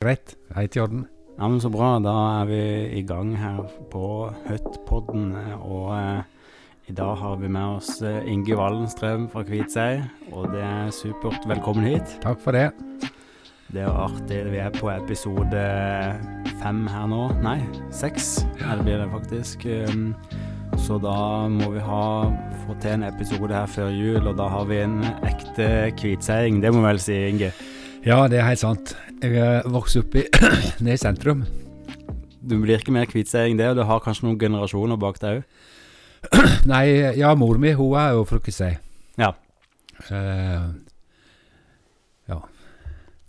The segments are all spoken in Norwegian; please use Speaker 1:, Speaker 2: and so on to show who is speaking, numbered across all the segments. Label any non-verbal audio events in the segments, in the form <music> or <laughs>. Speaker 1: Greit, heit i orden.
Speaker 2: Ja, men så bra. Da er vi i gang her på Høttpodden. Og eh, i dag har vi med oss eh, Inge Wallenstrøm fra Kviteseid. Og det er supert. Velkommen hit.
Speaker 1: Takk for det.
Speaker 2: Det er artig. Vi er på episode eh, fem her nå. Nei, seks ja. det blir det faktisk. Um, Så da må vi ha få til en episode her før jul, og da har vi en ekte kvitseing. Det må vi vel si, Inge.
Speaker 1: Ja, det er helt sant. Jeg eh, vokste opp i <clears throat> nede i sentrum.
Speaker 2: Du blir ikke mer kvitseing det, og du har kanskje noen generasjoner bak deg òg.
Speaker 1: Nei, ja, mor mi hun er jo fra Kisøy.
Speaker 2: Ja.
Speaker 1: Eh,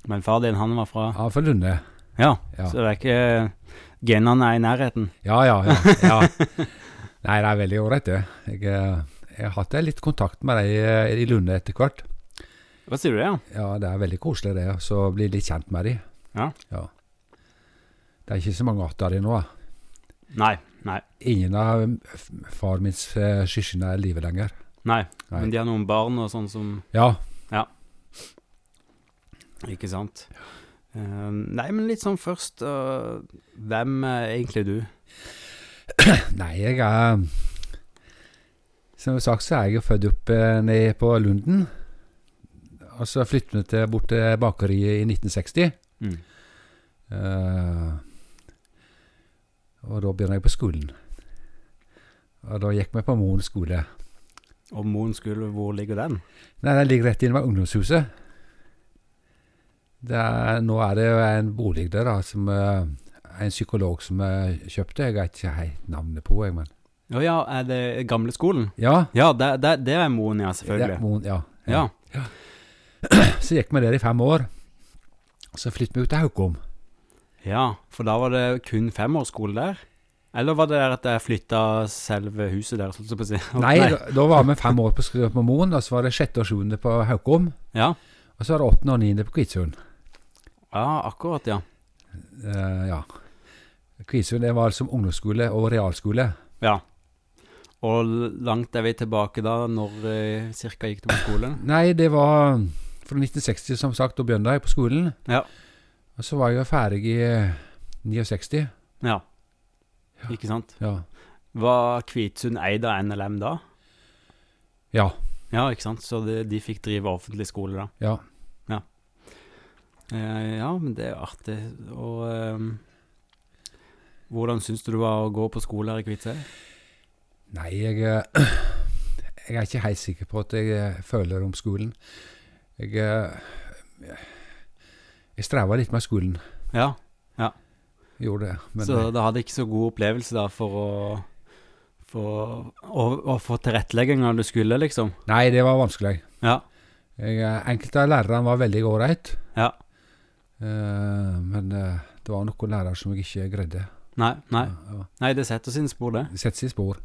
Speaker 2: Men far din, han var fra
Speaker 1: ja, fra Lunde.
Speaker 2: Ja,
Speaker 1: Ja.
Speaker 2: Ah. så det er ikke genene er i nærheten.
Speaker 1: Ja, ja, ja.
Speaker 2: <laughs>
Speaker 1: ja. Nei, det er veldig ålreit, det. Jeg, eh, jeg har hatt litt kontakt med de eh, i Lunde etter hvert.
Speaker 2: Hva sier du det, ja?
Speaker 1: Ja, det er veldig koselig, det. og Så bli litt kjent med de.
Speaker 2: Ja.
Speaker 1: Det er ikke så mange arter av de nå. da.
Speaker 2: Nei, nei,
Speaker 1: Ingen av eh, f- far mins eh, søsken er i live lenger.
Speaker 2: nei.
Speaker 1: Nei.
Speaker 2: Men de har noen barn og sånn som
Speaker 1: Ja,
Speaker 2: Ikke sant? Eh, nei, men litt sånn først eh, Hvem er egentlig du?
Speaker 1: Nei, jeg er Som sagt så er jeg jo født opp eh, nede på Lunden. Og så flyttet vi til, bort til bakeriet i 1960. Eh, og da begynner jeg på skolen. Og da gikk vi på Moen skole.
Speaker 2: Og Moen skole, hvor ligger den?
Speaker 1: Nei, den ligger rett inne ved ungdomshuset. Det er, nå er det jo en bolig der, da, som eh, en psykolog som eh, kjøpte. Jeg vet ikke helt navnet på, jeg, men
Speaker 2: Å ja, er det gamle skolen?
Speaker 1: Ja,
Speaker 2: Ja, det, det, det er Moen,
Speaker 1: det
Speaker 2: ja,
Speaker 1: er
Speaker 2: selvfølgelig.
Speaker 1: Moen, ja.
Speaker 2: Ja.
Speaker 1: Så gikk vi der i fem år. Så flyttet vi ut til Haukom.
Speaker 2: ja, for da var det kun femårsskole der? Eller var det der at jeg flytta selve huset deres, holdt jeg på å si? <laughs>
Speaker 1: Nei, Da, da var vi fem år på, sk- på Moen, og så var det sjette og sjuende på Haukom.
Speaker 2: Ja.
Speaker 1: Og så var det åttende og niende på Kvitsund.
Speaker 2: ja, akkurat, ja.
Speaker 1: Eh, ja. Kvitsund det var som ungdomsskole og realskole.
Speaker 2: Ja. Og langt er vi tilbake da, når eh, cirka gikk du på
Speaker 1: <laughs>
Speaker 2: skolen?
Speaker 1: Nei, det var fra 1960, som sagt, da begynte jeg på skolen.
Speaker 2: Ja.
Speaker 1: Og så var jeg jo ferdig i 69.
Speaker 2: Ja. Ikke sant?
Speaker 1: Ja.
Speaker 2: Var Kvitsund eid av NLM da?
Speaker 1: ja.
Speaker 2: Ja, ikke sant? Så de, de fikk drive offentlig skole da.
Speaker 1: ja.
Speaker 2: Eh, ja, men det er jo artig. Og ehm, hvordan syns du det var å gå på skole her i Kvitsøy?
Speaker 1: Nei, jeg, eh, jeg er ikke helt sikker på at jeg eh, føler om skolen. Jeg, eh, jeg streva litt med skolen,
Speaker 2: Ja,
Speaker 1: jeg gjorde det. Men
Speaker 2: så
Speaker 1: eh,
Speaker 2: da hadde jeg ikke så god opplevelse da for å for å, å få tilrettelegginga du skulle, liksom.
Speaker 1: nei, det var vanskelig.
Speaker 2: Ja.
Speaker 1: Jeg, eh, enkelte av lærerne var veldig ålreit,
Speaker 2: Ja.
Speaker 1: eh, men eh, det var noen lærere som jeg ikke greide.
Speaker 2: Nei, nei.
Speaker 1: Ja, ja.
Speaker 2: nei det setter sine spor, det.
Speaker 1: Det setter seg i spor.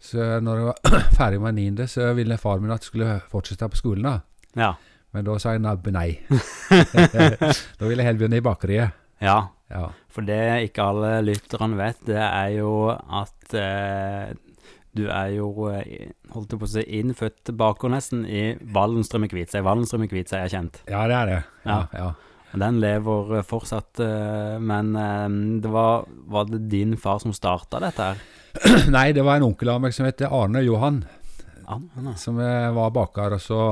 Speaker 1: Så eh, når jeg var <clears throat> ferdig med niende, så ville far min at jeg skulle fortsette på skolen. da.
Speaker 2: Ja.
Speaker 1: Men da sa jeg nabbe
Speaker 2: <laughs>
Speaker 1: nei. da ville jeg heller begynne i bakeriet.
Speaker 2: ja.
Speaker 1: Ja.
Speaker 2: For det ikke alle lytterne vet, det er jo at eh, du er jo, eh, holdt jeg på å si, innfødt baker nesten i Wallenstrøm i Kviteseid. Wallenstrøm i Kviteseid er kjent.
Speaker 1: ja, det er det.
Speaker 2: Ja.
Speaker 1: ja. <clears throat>
Speaker 2: Og Den lever eh, fortsatt, eh, men eh, det var, var det din far som starta dette her?
Speaker 1: Nei, det var en onkel av meg som heter Arne Johan,
Speaker 2: Ja, han er-
Speaker 1: som eh, var baker. Og så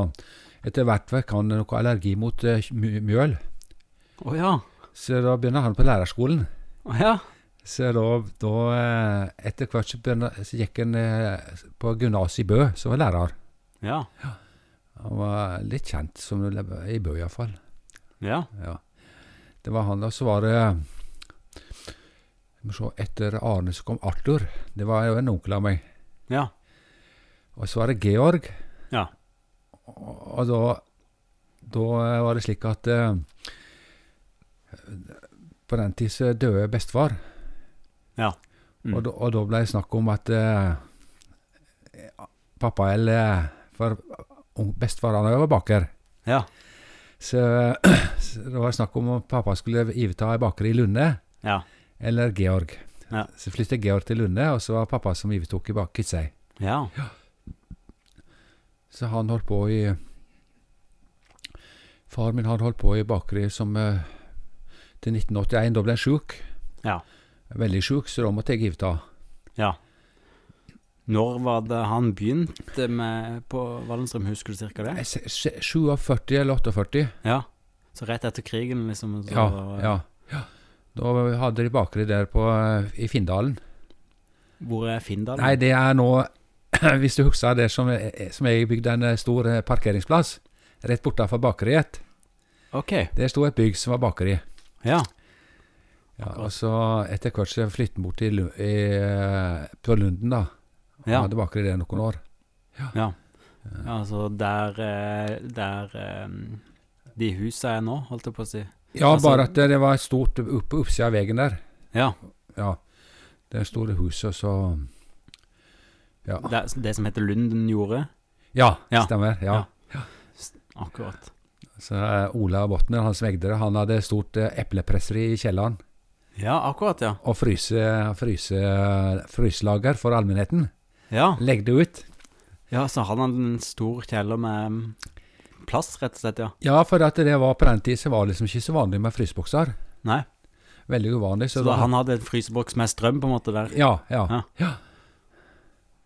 Speaker 1: etter hvert fikk han noe allergi mot eh, mj- mjøl,
Speaker 2: Å ja.
Speaker 1: så da begynner han på lærerskolen.
Speaker 2: Å ja.
Speaker 1: Så da, da eh, etter hvert så, begynner, så gikk han eh, på gymnaset i Bø, som var lærer.
Speaker 2: Ja.
Speaker 1: Han var litt kjent som lærer i Bø iallfall.
Speaker 2: Ja.
Speaker 1: Ja. Det var han, og så var det vi må se, Etter Arne så kom Arthur. Det var jo en onkel av meg.
Speaker 2: Ja.
Speaker 1: Og så var det Georg.
Speaker 2: Ja.
Speaker 1: Og, og da, da var det slik at eh, På den tid så døde bestefar.
Speaker 2: Ja. Mm.
Speaker 1: Og, da- og da ble det snakk om at eh, pappa eller eh, For ung- bestefar han var baker.
Speaker 2: Ja.
Speaker 1: Så, <clears throat> så det var snakk om om pappa skulle overta ei baker i Lunde
Speaker 2: Ja.
Speaker 1: eller Georg.
Speaker 2: Ja.
Speaker 1: Så flyttet Georg til Lunde, og så var pappa som overtok i bak Kvitsøy.
Speaker 2: Ja.
Speaker 1: Så han holdt på i Far min han holdt på i bakeri som eh, til 1981. Da ble jeg sjuk.
Speaker 2: Ja.
Speaker 1: Veldig sjuk, så da måtte jeg gifte av.
Speaker 2: Ja. Når var det han begynte med på Wallenstrøm, husker du cirka det?
Speaker 1: Jeg se- se- 47 eller 48.
Speaker 2: Ja. Så rett etter krigen, liksom? Så,
Speaker 1: Ja, ja. Da hadde de bakeri der på, eh, i Finndalen.
Speaker 2: Hvor er Findal?
Speaker 1: Nei, det er nå <clears throat> Hvis du husker det som, eh, som jeg bygde en eh, stor eh, parkeringsplass rett bortenfor bakeriet.
Speaker 2: Ok.
Speaker 1: Der sto et bygg som var bakeri.
Speaker 2: Ja.
Speaker 1: Ja,
Speaker 2: Akkurat.
Speaker 1: og så etter hvert så flyttet han bort til, Lu- i, eh, på Lunden, da. Han
Speaker 2: Ja.
Speaker 1: hadde bakeri der noen år.
Speaker 2: ja. Altså der, eh, der eh, de husa er nå, holdt jeg på å si.
Speaker 1: Ja,
Speaker 2: Altså-
Speaker 1: bare at det, det var et stort opp- på oppsida av veien der.
Speaker 2: Ja.
Speaker 1: Ja. Det store huset, så Ja.
Speaker 2: Det, det som heter Lundenjordet.
Speaker 1: Ja,
Speaker 2: Ja.
Speaker 1: stemmer. Ja.
Speaker 2: Ja. Akkurat.
Speaker 1: Så eh, Ola Botner, hans vegdere, han hadde et stort eh, eplepresseri i kjelleren.
Speaker 2: Ja, akkurat, ja.
Speaker 1: Og fryse, fryse, fryselager for allmennheten.
Speaker 2: Ja,
Speaker 1: Legg det ut.
Speaker 2: ja så hadde han en stor kjeller med mm, plass, rett og slett, ja.
Speaker 1: Ja, for at det var på den tid så var det liksom ikke så vanlig med frysebokser.
Speaker 2: Nei.
Speaker 1: Veldig uvanlig.
Speaker 2: Så
Speaker 1: Så,
Speaker 2: da, han hadde en fryseboks med strøm, på en måte, der.
Speaker 1: Ja, ja.
Speaker 2: Ja.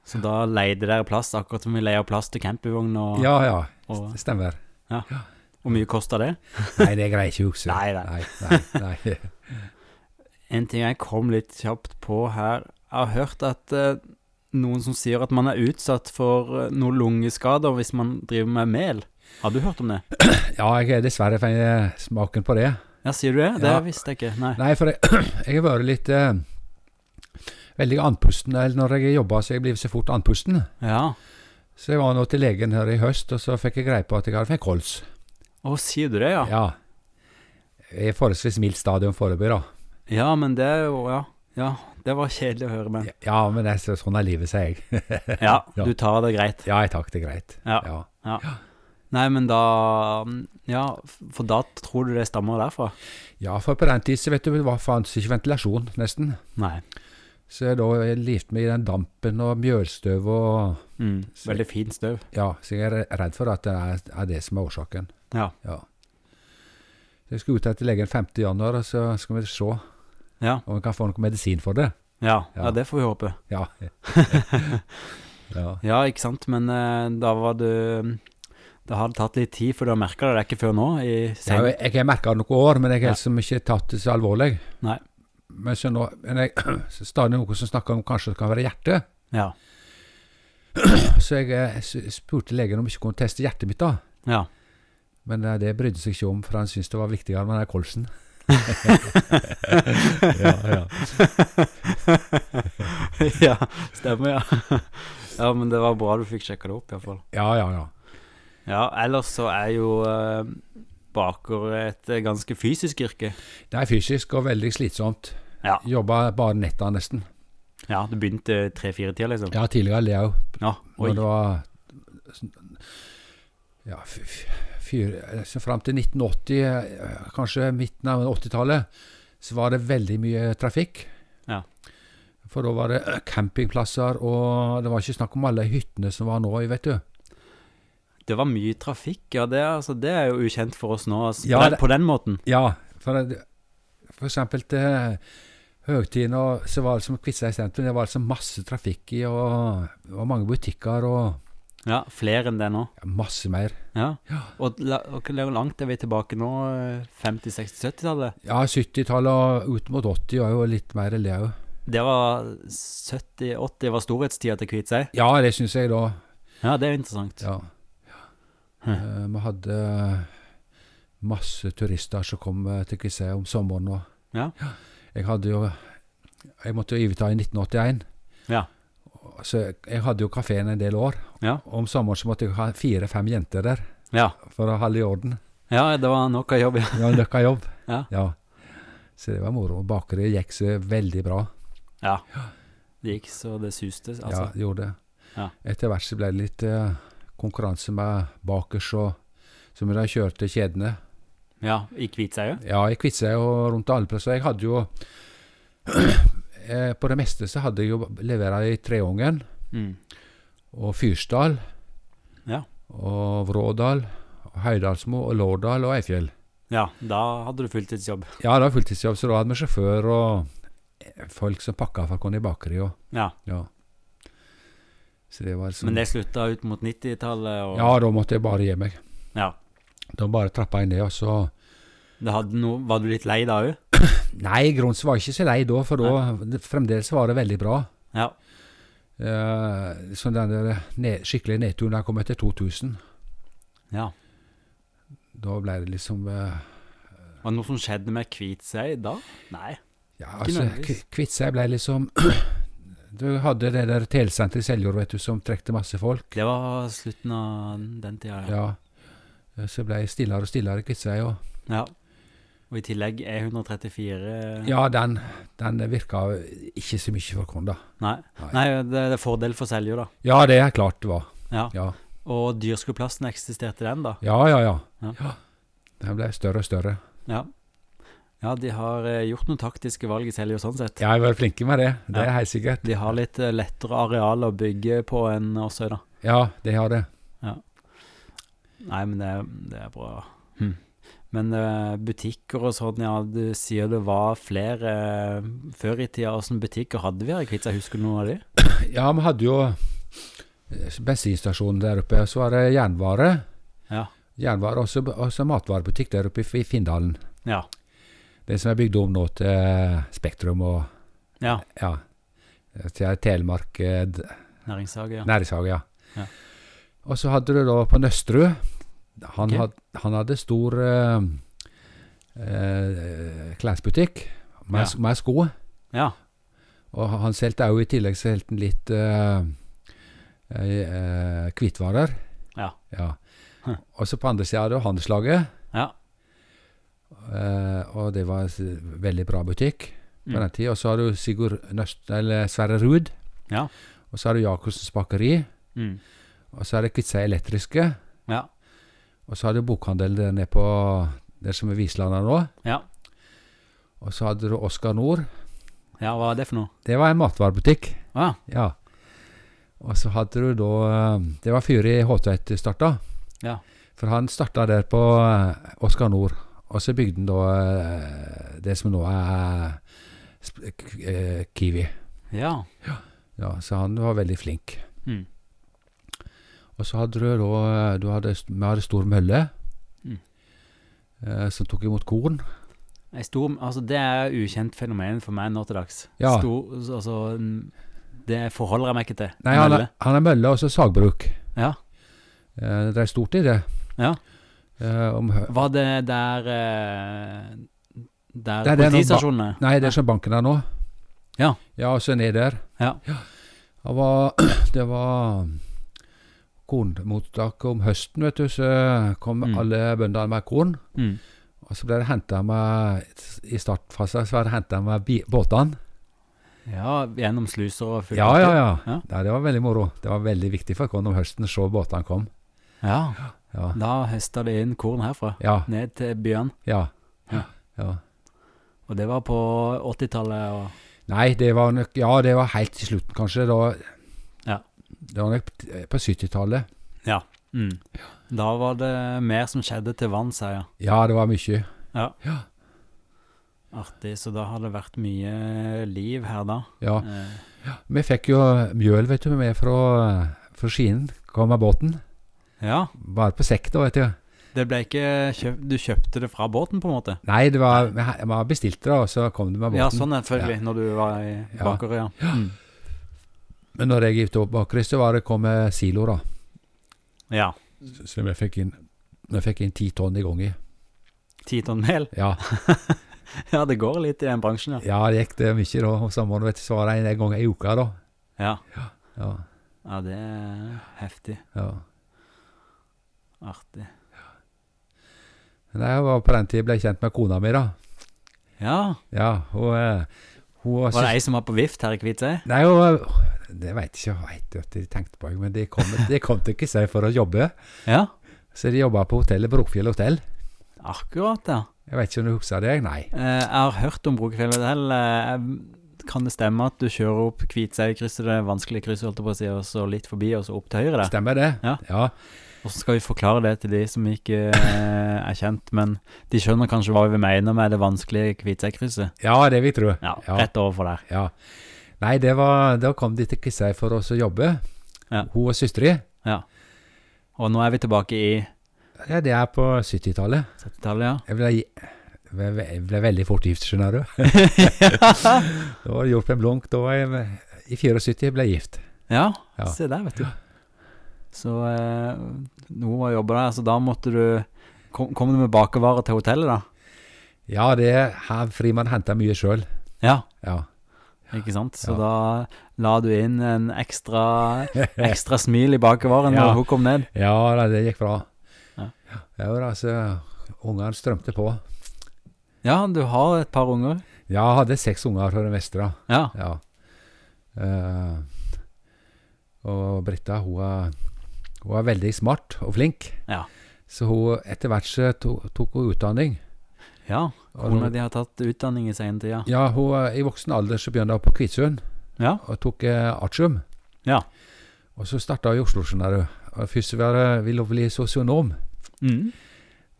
Speaker 2: Så da leide dere plass, akkurat som vi leier plass til campingvogn. Og,
Speaker 1: Ja, ja.
Speaker 2: og
Speaker 1: Det stemmer.
Speaker 2: hvor mye kosta det?
Speaker 1: Nei, det greier jeg ikke å huske.
Speaker 2: Nei, nei.
Speaker 1: nei. nei, nei.
Speaker 2: En ting jeg kom litt kjapt på her Jeg har hørt at eh, noen som sier at man er utsatt for eh, noen lungeskader hvis man driver med mel. Har du hørt om det?
Speaker 1: Ja, jeg er dessverre feil eh, smaken på det.
Speaker 2: Ja, sier du det? Det
Speaker 1: Ja.
Speaker 2: visste jeg ikke. Nei.
Speaker 1: Nei, for jeg, <clears throat> jeg har vært litt eh, Veldig andpusten eller når jeg jobba, så jeg blir så fort andpusten.
Speaker 2: Ja.
Speaker 1: Så jeg var nå til legen her i høst, og så fikk jeg greie på at jeg hadde fikk kols.
Speaker 2: Å, sier du det, ja? ja?
Speaker 1: Ja. I forholdsvis mildt stadium foreløpig, da.
Speaker 2: men det er jo Ja. ja. Det var kjedelig å høre, men
Speaker 1: Ja, men det, er så- sånn er livet, sier jeg.
Speaker 2: ja,
Speaker 1: Ja.
Speaker 2: du tar det greit.
Speaker 1: Ja, jeg takk, det er greit.
Speaker 2: Ja.
Speaker 1: Ja.
Speaker 2: Nei, men da Ja, for da tror du det stammer derfra?
Speaker 1: ja, for på den tid så vet du, det var- fantes ikke ventilasjon, nesten.
Speaker 2: Nei.
Speaker 1: Så jeg da jeg livte meg i den dampen og mjølstøv og
Speaker 2: Mm. Veldig fint støv.
Speaker 1: Ja, så jeg er redd for at det er, er det som er årsaken.
Speaker 2: Ja.
Speaker 1: Ja. Så jeg skal ut her til legen 5. januar, og så skal vi se om
Speaker 2: Ja.
Speaker 1: vi kan få noe medisin for det.
Speaker 2: Ja, ja.
Speaker 1: Ja.
Speaker 2: det får vi håpe.
Speaker 1: Ja.
Speaker 2: <laughs>
Speaker 1: ja.
Speaker 2: Ja, ikke sant, men eh, da var du Det har tatt litt tid før du har merka det, det er ikke før nå? I
Speaker 1: Ja,
Speaker 2: sen...
Speaker 1: jeg, jeg har merka noen år, men jeg
Speaker 2: Ja.
Speaker 1: har liksom ikke tatt det så alvorlig.
Speaker 2: Nei.
Speaker 1: Men så nå men jeg, <clears throat> så stadig noen som snakker om kanskje det kan være hjertet.
Speaker 2: ja.
Speaker 1: Så jeg eh, s- spurte legen om jeg ikke kunne teste hjertet mitt, da.
Speaker 2: ja.
Speaker 1: Men eh, det brydde seg ikke om, for han syntes det var viktigere med den
Speaker 2: <laughs>
Speaker 1: kolsen.
Speaker 2: ja, stemmer, ja. ja, men det var bra du fikk sjekka det opp, iallfall.
Speaker 1: Ja, ja, ja.
Speaker 2: Ja, ellers så er jo eh, baker et eh, ganske fysisk yrke.
Speaker 1: Det er fysisk og veldig slitsomt.
Speaker 2: Ja.
Speaker 1: Jobba bare netta, nesten.
Speaker 2: Ja, du begynte tre-fire-tida, liksom?
Speaker 1: Ja, tidligere Leo.
Speaker 2: Ja. Oi.
Speaker 1: Når det var ja, f- f- fyr, så Fram til 1980, eh, kanskje midten av 80-tallet, så var det veldig mye trafikk.
Speaker 2: Ja.
Speaker 1: For da var det <clears throat> eh, campingplasser, og det var ikke snakk om alle hyttene som var nå, vet du.
Speaker 2: Det var mye trafikk, ja. Det, er- altså, det er jo ukjent for oss nå, altså,
Speaker 1: Ja,
Speaker 2: på, den,
Speaker 1: det-
Speaker 2: på den måten.
Speaker 1: Ja, for, det- for eksempel til høgtiden, og så var det som Kvitseid sentrum, det var altså masse trafikk i, og det var mange butikker, og
Speaker 2: Ja, Flere enn det nå.
Speaker 1: ja, masse mer.
Speaker 2: Ja.
Speaker 1: Ja.
Speaker 2: Og la, og hvor langt er vi tilbake nå? eh, 50-, 60-, 70-tallet?
Speaker 1: Ja, 70-tallet og ut mot 80 var jo litt mer Leo.
Speaker 2: Det var 70-, 80 var storhetstida til Kviteseid.
Speaker 1: Ja, det syns jeg da.
Speaker 2: Ja, det er jo interessant.
Speaker 1: Ja.
Speaker 2: Hm.
Speaker 1: Eh, Vi hadde masse turister som kom eh, til Kviteseid om sommeren. Og
Speaker 2: Ja.
Speaker 1: Jeg hadde jo Jeg måtte jo overta i 1981,
Speaker 2: Ja.
Speaker 1: så jeg hadde jo kafeen en del år.
Speaker 2: Ja.
Speaker 1: Og om sommeren så måtte jeg ha fire-fem jenter der
Speaker 2: Ja.
Speaker 1: for å holde i orden.
Speaker 2: ja, det var nok av jobb. ja.
Speaker 1: Det var løkka jobb.
Speaker 2: Ja.
Speaker 1: Så det var moro. Bakeriet gikk så veldig bra.
Speaker 2: Ja. Det gikk så det suste,
Speaker 1: Ja,
Speaker 2: altså.
Speaker 1: det gjorde det.
Speaker 2: Ja.
Speaker 1: Etter hvert så ble det litt eh, konkurranse med bakers og som de kjørte kjedene.
Speaker 2: Ja, i Kviteseid òg?
Speaker 1: Ja, jeg kvitsa jo rundt alle plasser. Jeg hadde jo <clears throat> eh, På det meste så hadde jeg jo levera i Treungen
Speaker 2: Mm.
Speaker 1: og Fyrsdal
Speaker 2: Ja.
Speaker 1: og Vrådal og Høydalsmo og Lårdal og Eifjell.
Speaker 2: Ja, da hadde du fulltidsjobb.
Speaker 1: Ja, det var fulltidsjobb, så da hadde vi sjåfør og folk som pakka for å komme i bakeri og
Speaker 2: Ja,
Speaker 1: ja. Så det var liksom
Speaker 2: Men det slutta ut mot 90-tallet, og
Speaker 1: Ja, da måtte jeg bare gi meg.
Speaker 2: Ja.
Speaker 1: Da bare trappa jeg ned, og så
Speaker 2: Det hadde noe, var du litt lei da òg?
Speaker 1: Nei, i grunnen så var jeg ikke så lei da, for da fremdeles var det veldig bra.
Speaker 2: Ja.
Speaker 1: Eh, så den der ned, skikkelige nedturen der kom etter 2000.
Speaker 2: ja.
Speaker 1: Da ble det liksom eh,
Speaker 2: Var det noe som skjedde med Kviteseid da? Nei.
Speaker 1: Ja,
Speaker 2: Ikke
Speaker 1: altså,
Speaker 2: nødvendigvis.
Speaker 1: Kvi- Kviteseid ble liksom <clears throat> Du hadde det der telesenteret i Seljord, vet du, som trekte masse folk.
Speaker 2: Det var slutten av den tida, ja.
Speaker 1: Ja. Eh, Så ble jeg stillere og stillere i Kviteseid. Og,
Speaker 2: ja. Og i tillegg E134
Speaker 1: ja, den, den virka ikke så mye for oss, da.
Speaker 2: Nei.
Speaker 1: Nei.
Speaker 2: Nei, det det er fordel for Seljord, da.
Speaker 1: Ja, det er klart det var.
Speaker 2: Ja.
Speaker 1: Ja,
Speaker 2: Og Dyrskueplassen eksisterte den, da?
Speaker 1: ja, ja. ja.
Speaker 2: Ja.
Speaker 1: ja. Den ble større og større.
Speaker 2: Ja. Ja, de har eh, gjort noen taktiske valg i Seljord, sånn sett.
Speaker 1: Ja, jeg har vært flinke med det. Det
Speaker 2: Ja.
Speaker 1: er helt sikkert.
Speaker 2: De har litt eh, lettere areal å bygge på enn Åsøy, da.
Speaker 1: Ja, det har det.
Speaker 2: Nei, men det, det er bra. Hm. Men eh, butikker og sånn, ja, du sier det var flere eh, før i tida. Åssen butikker hadde vi her i Kvitsøy? Husker du noen av de?
Speaker 1: Ja, vi hadde jo eh, bensinstasjonen der oppe, og så var det jernvare.
Speaker 2: Ja.
Speaker 1: Jernvare og så- og så matvarebutikk der oppe i F- i Finndalen.
Speaker 2: Ja.
Speaker 1: Det som er bygd om nå til eh, Spektrum og
Speaker 2: ja.
Speaker 1: ja, til Telemark eh, d-
Speaker 2: Næringshage, ja.
Speaker 1: næringshage, ja.
Speaker 2: Ja.
Speaker 1: Og så hadde du da på Nøsterud Han,
Speaker 2: Ok.
Speaker 1: had, han hadde stor eh, eh, klesbutikk med,
Speaker 2: Ja.
Speaker 1: s- med sko.
Speaker 2: Ja.
Speaker 1: Og han solgte òg i tillegg så solgte han litt eh, eh, hvitvarer.
Speaker 2: Ja. Hm.
Speaker 1: Og så på andre sida hadde du handelslaget,
Speaker 2: ja.
Speaker 1: eh, og det var s- veldig bra butikk på
Speaker 2: Mm.
Speaker 1: den tida. Og så har du Sigurd Nøst, eller Sverre Ruud,
Speaker 2: Ja.
Speaker 1: og så har du Jacobsens Bakeri,
Speaker 2: Mm.
Speaker 1: og så er det Kviteseid Elektriske,
Speaker 2: ja.
Speaker 1: og så har du bokhandel der nede på der som er Vislanda nå,
Speaker 2: Ja.
Speaker 1: og så hadde du Oskar Nord.
Speaker 2: Ja, hva er det for noe? Ah,
Speaker 1: Det var en matvarebutikk.
Speaker 2: Ja.
Speaker 1: Ja. Og så hadde du da eh, Det var fyret i Håtveit starta.
Speaker 2: Ja.
Speaker 1: For han starta der på eh, Oskar Nord. Og så bygde han da eh, det som nå er sp- k- eh, Kiwi.
Speaker 2: Ja.
Speaker 1: Ja, så han var veldig flink.
Speaker 2: Mm.
Speaker 1: Og så hadde du da eh, du hadde, st- Vi hadde stor mølle
Speaker 2: Mm.
Speaker 1: eh, som tok imot korn.
Speaker 2: Ei Stor, altså, det er ukjent fenomen for meg nå til dags.
Speaker 1: Ja.
Speaker 2: Stor, altså, mm, det forholder jeg meg ikke til.
Speaker 1: Nei, han
Speaker 2: Mølle.
Speaker 1: er, han er mølle og så sagbruk.
Speaker 2: Ja.
Speaker 1: Eh, det er stort i det.
Speaker 2: Ja.
Speaker 1: Eh, om, hø-
Speaker 2: Var det der eh, Der
Speaker 1: Det er det noen ba-
Speaker 2: politistasjonene?
Speaker 1: Nei, det er som banken er nå.
Speaker 2: Ja.
Speaker 1: Ja, og så ned der.
Speaker 2: Ja.
Speaker 1: Det var, <clears throat> det var mm, kornmottak om høsten, vet du, så kom
Speaker 2: Mm.
Speaker 1: alle bøndene med korn.
Speaker 2: Mm.
Speaker 1: Og så ble det henta med I startfasen så var det henta med bi- båtene.
Speaker 2: Ja, gjennom sluser og fullt
Speaker 1: Ja, ja, ja,
Speaker 2: Ja.
Speaker 1: Nei, Det var veldig moro. Det var veldig viktig for oss om høsten å se båtene kom.
Speaker 2: Ja,
Speaker 1: Ja.
Speaker 2: da høsta de inn korn herfra,
Speaker 1: Ja.
Speaker 2: ned til byen.
Speaker 1: Ja.
Speaker 2: Ja.
Speaker 1: ja.
Speaker 2: Og det var på 80-tallet og
Speaker 1: Nei, det var nok Ja, det var helt til slutten, kanskje. Da,
Speaker 2: Ja.
Speaker 1: Det var nok på 70-tallet.
Speaker 2: Ja. Mm. Da var det mer som skjedde til vanns her, ja.
Speaker 1: Ja, det var mye.
Speaker 2: Artig. Så da har det vært mye liv her, da.
Speaker 1: Ja.
Speaker 2: Eh,
Speaker 1: Vi fikk jo mjøl, vet du, med fra, fra Skien. Kom med båten.
Speaker 2: ja.
Speaker 1: Bare på sekk, da, vet du.
Speaker 2: Det ble ikke kjøpt Du kjøpte det fra båten, på en måte?
Speaker 1: Nei, det var, vi he- vi bestilte det, og så kom det med båten.
Speaker 2: Ja, sånn selvfølgelig, når du var i
Speaker 1: Ja.
Speaker 2: Bakerøya. Ja. Mm.
Speaker 1: Men når jeg gikk opp bakeri, så var det kom med silo, da.
Speaker 2: ja.
Speaker 1: Som jeg fikk inn. Jeg fikk inn ti tonn i gangen.
Speaker 2: Ti tonn mel? <laughs>
Speaker 1: Ja,
Speaker 2: Ja, det går litt i den bransjen, ja.
Speaker 1: ja, det gikk det mye da. Og sommeren, vet du, så var det en gang i uka, da.
Speaker 2: Ja,
Speaker 1: Ja,
Speaker 2: ja det er heftig.
Speaker 1: ja.
Speaker 2: Artig.
Speaker 1: Nei, jeg var på den tiden ble jeg kjent med kona mi, da.
Speaker 2: Ja,
Speaker 1: Ja, hun, eh, hun
Speaker 2: var det ei som var på vift her i Kviteseid?
Speaker 1: Nei, hun, det veit ikke, jeg vet ikke, jeg tenkte på det, men de kom, de kom til Kisøy for å jobbe.
Speaker 2: Ja,
Speaker 1: Så de jobba på hotellet Brokfjell hotell.
Speaker 2: akkurat, ja.
Speaker 1: Jeg vet ikke om du husker det? Nei.
Speaker 2: Eh, Jeg har hørt om Brokefjell hotell. Eh, jeg- Kan det stemme at du kjører opp Kviteseidkrysset, det vanskelige krysset, holdt jeg på å si, og så litt forbi, og så opp til høyre der?
Speaker 1: Stemmer det?
Speaker 2: Ja. Og så skal vi forklare det til de som ikke eh, er kjent, men de skjønner kanskje hva vi mener med det vanskelige Kviteseidkrysset.
Speaker 1: Ja, det vil jeg tro.
Speaker 2: Ja,
Speaker 1: Ja.
Speaker 2: rett overfor der.
Speaker 1: Ja. Nei, det var, da kom de til Kviteseid for oss å jobbe,
Speaker 2: Ja.
Speaker 1: hun og søstera.
Speaker 2: Og nå er vi tilbake i
Speaker 1: Ja, det er på 70-tallet.
Speaker 2: 70-tallet, ja.
Speaker 1: Jeg ble, ble, ble veldig fort gift, skjønner
Speaker 2: <laughs>
Speaker 1: du.
Speaker 2: ja.
Speaker 1: Det var gjort med en blunk. Da var jeg i 74 ble jeg gift.
Speaker 2: Ja,
Speaker 1: Ja.
Speaker 2: se der, vet du. Så eh, noe var jobba der, så da måtte du Kom, kom du med bakervarer til hotellet, da?
Speaker 1: Ja, det har Frimann henta mye sjøl.
Speaker 2: Ja,
Speaker 1: Ja.
Speaker 2: ikke sant?
Speaker 1: Ja.
Speaker 2: Så da la du inn en
Speaker 1: <laughs>
Speaker 2: ekstra, ekstra smil i bakervaren
Speaker 1: Ja.
Speaker 2: når hun kom ned.
Speaker 1: ja, da, det gikk bra.
Speaker 2: Ja.
Speaker 1: Ja, da, altså, Ungene strømte på.
Speaker 2: Ja, du har et par unger.
Speaker 1: Ja, jeg hadde seks unger fra den vestre.
Speaker 2: Ja.
Speaker 1: Ja. Eh, og Britta, hun er, hun er veldig smart og flink.
Speaker 2: Ja.
Speaker 1: Så hun, etter hvert så to, tok hun utdanning.
Speaker 2: ja.
Speaker 1: Og
Speaker 2: Kona
Speaker 1: nå-
Speaker 2: di har tatt utdanning i senere tida.
Speaker 1: ja, hun, er- I voksen alder så begynte hun på Kvitsund
Speaker 2: Ja.
Speaker 1: og tok eh, artium.
Speaker 2: Ja.
Speaker 1: Og så starta hun i Oslo, skjønner du. Og Først var det- ville hun bli sosionom,
Speaker 2: Mm.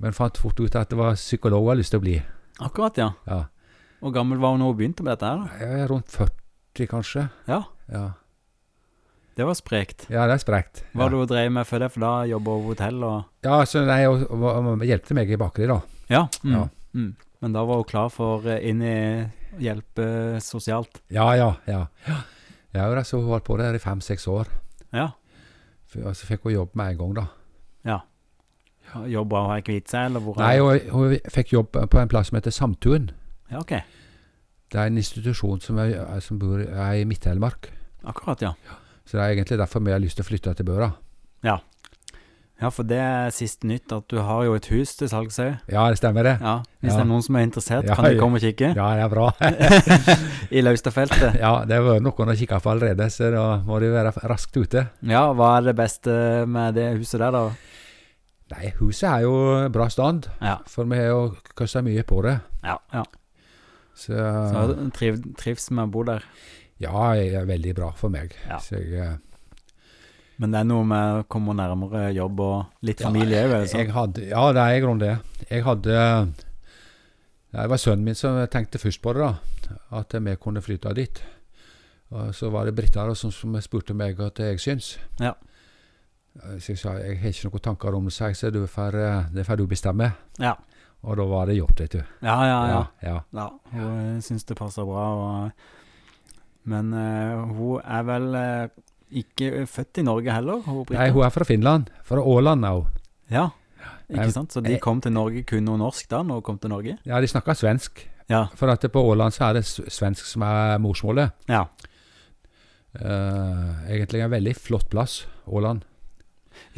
Speaker 1: men fant fort ut at det var psykolog hun hadde lyst til å bli.
Speaker 2: Akkurat, ja.
Speaker 1: Ja.
Speaker 2: Hvor gammel var hun da hun begynte med dette her,
Speaker 1: Eh, Rundt 40, kanskje.
Speaker 2: da? Ja,
Speaker 1: Ja,
Speaker 2: det var sprekt.
Speaker 1: ja det er sprekt.
Speaker 2: Hva
Speaker 1: Ja.
Speaker 2: var det hun drev med før det, for da jobba hun på hotell og
Speaker 1: Ja, så nei, hun, hun, hun hjelpte meg i bakeri, da.
Speaker 2: Ja. Mm.
Speaker 1: Ja.
Speaker 2: Mm. Men da var hun klar for eh, inn i hjelpe sosialt.
Speaker 1: Ja, ja, ja. ja. ja da, så hun holdt på der i fem-seks år.
Speaker 2: Ja.
Speaker 1: F- Og så fikk hun jobb med en gang, da.
Speaker 2: Jobba hun her i Kviteseid, eller hvor?
Speaker 1: Nei, hun, hun fikk jobb på en plass som heter Samtun.
Speaker 2: Ja, ok.
Speaker 1: Det er en institusjon som, er, som bor, er i Midt-Telemark.
Speaker 2: Akkurat, ja.
Speaker 1: Så det er egentlig derfor vi har lyst til å flytte til Børa.
Speaker 2: Ja, for det er siste nytt, at du har jo et hus til salgs òg.
Speaker 1: Ja, det stemmer det.
Speaker 2: Ja. Hvis
Speaker 1: Ja.
Speaker 2: det er noen som er interessert,
Speaker 1: Ja,
Speaker 2: kan de
Speaker 1: ja.
Speaker 2: komme og kikke
Speaker 1: Ja, det er bra. <laughs>
Speaker 2: i Laustadfeltet.
Speaker 1: Ja, det har vært noen å kikke på allerede, så da må de være raskt ute.
Speaker 2: Ja, hva er det beste med det huset der, da?
Speaker 1: Nei, huset er jo i bra stand,
Speaker 2: Ja.
Speaker 1: for vi har jo kosta mye på det.
Speaker 2: ja. ja.
Speaker 1: Så,
Speaker 2: Så hun triv, trives med å bo der.
Speaker 1: ja, det er veldig bra for meg.
Speaker 2: Ja.
Speaker 1: Så jeg, eh,
Speaker 2: Men det er noe med å komme nærmere jobb og litt
Speaker 1: Ja,
Speaker 2: familie òg, er det sånn?
Speaker 1: Jeg hadde, ja, det er i grunnen det. Jeg hadde Det var sønnen min som tenkte først på det, da. At vi kunne flytte dit. Og så var det Britta da som, som spurte meg hva jeg syns.
Speaker 2: Ja.
Speaker 1: Så jeg sa jeg har ikke noen tanker om det, sa jeg, så du får, eh, det får du bestemme.
Speaker 2: Ja.
Speaker 1: Og da var det jobb, vet du.
Speaker 2: Ja, ja, ja.
Speaker 1: ja.
Speaker 2: Ja, hun eh, syns det passer bra. Og, men eh, hun er vel eh, ikke født i Norge heller? Hun Brita?
Speaker 1: Nei, hun er fra Finland. Fra Åland er hun.
Speaker 2: Ja, ikke
Speaker 1: Nei,
Speaker 2: sant? Så de
Speaker 1: jeg-
Speaker 2: kom til Norge, kunne hun norsk da når hun kom til Norge?
Speaker 1: Ja, de snakker svensk.
Speaker 2: Ja.
Speaker 1: For at på Åland så er det s- svensk som er morsmålet.
Speaker 2: ja.
Speaker 1: Eh, egentlig en veldig flott plass, Åland.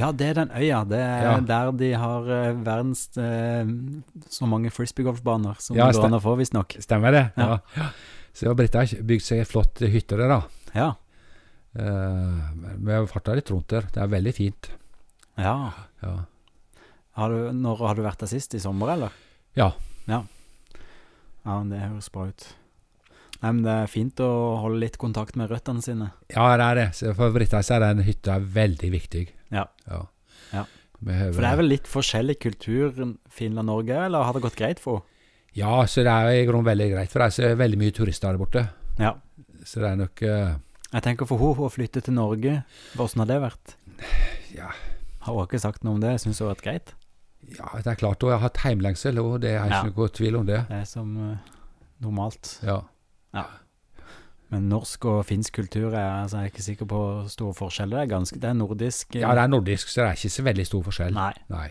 Speaker 2: Ja, det er den øya. Det er
Speaker 1: Ja.
Speaker 2: der de har eh, verdens eh, så mange frisbeegolfbaner som
Speaker 1: Ja,
Speaker 2: det går
Speaker 1: sta-
Speaker 2: an å få, visstnok.
Speaker 1: Stemmer det?
Speaker 2: Ja.
Speaker 1: Ja. Så Britta har bygd seg ei flott hytte der, da.
Speaker 2: Ja.
Speaker 1: Eh, men vi har farta litt rundt der. Det er veldig fint.
Speaker 2: ja.
Speaker 1: Ja.
Speaker 2: Har du, når har du vært der sist? I sommer, eller?
Speaker 1: Ja.
Speaker 2: Ja, ja men det høres bra ut. Nei, men Det er fint å holde litt kontakt med røttene sine.
Speaker 1: ja, det er det. Så for Britta så er den hytta veldig viktig.
Speaker 2: Ja.
Speaker 1: ja.
Speaker 2: Ja.
Speaker 1: Vi har-
Speaker 2: For det er vel litt forskjellig kultur Finland-Norge, eller har det gått greit for henne?
Speaker 1: Ja, så det er i grunnen veldig greit. For det er så veldig mye turister der borte.
Speaker 2: Ja.
Speaker 1: Så det er nok eh,
Speaker 2: Jeg tenker for henne å flytte til Norge, hvordan har det vært?
Speaker 1: Ja.
Speaker 2: Har hun ikke sagt noe om det? Jeg syns hun har vært greit.
Speaker 1: Ja, det er klart hun har hatt heimlengsel, og det er ikke
Speaker 2: Ja.
Speaker 1: noe tvil om det.
Speaker 2: Det er som eh, normalt.
Speaker 1: Ja.
Speaker 2: Men norsk og finsk kultur er altså, jeg er ikke sikker på store forskjeller. Det er, ganske, det er nordisk. eh,
Speaker 1: ja, det er nordisk, så det er ikke så veldig stor forskjell.
Speaker 2: Nei,
Speaker 1: Nei.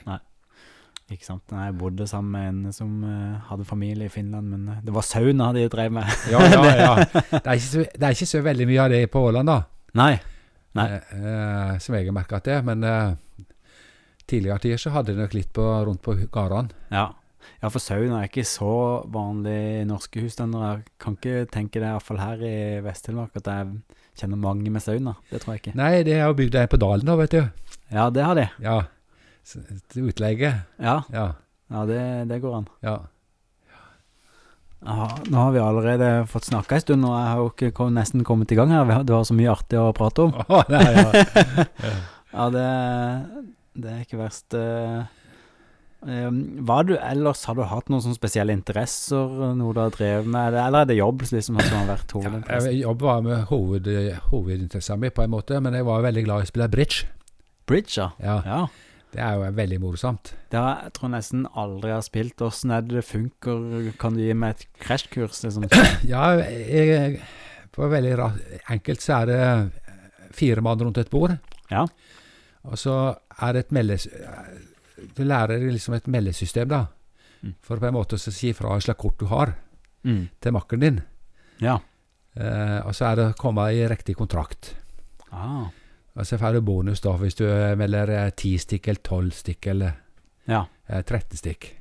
Speaker 2: ikke sant. Nei, jeg bodde sammen med en som eh, hadde familie i Finland, men eh, det var sauna de drev med. <laughs>
Speaker 1: Ja, ja, ja. Det er, ikke så, det er ikke så veldig mye av det på Åland, da.
Speaker 2: Nei. Nei.
Speaker 1: Eh, eh, som jeg har merka at det er. Men eh, tidligere tider så hadde jeg nok litt på, rundt på hu- gårdene.
Speaker 2: Ja. ja, for sauna er ikke så vanlig i norske husstander. Jeg kan ikke tenke det, iallfall her i Vest-Telemark, at jeg kjenner mange med sauna. Det tror jeg ikke.
Speaker 1: Nei, det er jo bygd en på dalen, da, vet du.
Speaker 2: Ja, det har de.
Speaker 1: Ja. S- Til utleie.
Speaker 2: Ja,
Speaker 1: Ja.
Speaker 2: ja det, det går an.
Speaker 1: ja. <laughs>
Speaker 2: Ja, nå har vi allerede fått snakka en stund, og jeg har jo ikke kom, nesten kommet i gang her. Vi har- Du har så mye artig å prate om.
Speaker 1: Å, nei, ja.
Speaker 2: Ja, det, det er ikke verst. eh. Em, Hva du ellers, har du hatt noen sånne spesielle interesser, eh, noe du har drevet med, eller- eller er det jobb liksom, som har vært hovedinteressen?
Speaker 1: Jeg jobb var med hoved, hovedinteressen min, på en måte, men jeg var veldig glad i å spille bridge.
Speaker 2: Bridge, ja.
Speaker 1: Ja,
Speaker 2: ja.
Speaker 1: Det er jo veldig morsomt.
Speaker 2: Det har jeg tror jeg nesten aldri jeg har spilt. Åssen er det det funker? Kan du gi meg et krasjkurs? Liksom?
Speaker 1: Ja, jeg, på veldig ra enkelt så er det eh, fire mann rundt et bord.
Speaker 2: Ja.
Speaker 1: Og så er det et meldes... Du lærer liksom et meldesystem, da.
Speaker 2: Mm.
Speaker 1: For på en måte å si fra hva slags kort du har
Speaker 2: Mm.
Speaker 1: til makkeren din.
Speaker 2: Ja.
Speaker 1: Eh, og så er det å komme i riktig kontrakt.
Speaker 2: Ah.
Speaker 1: Og så får du bonus da hvis du melder eh, 10 stikk eller 12 stikk eller
Speaker 2: ja.
Speaker 1: eh, 13 stikk.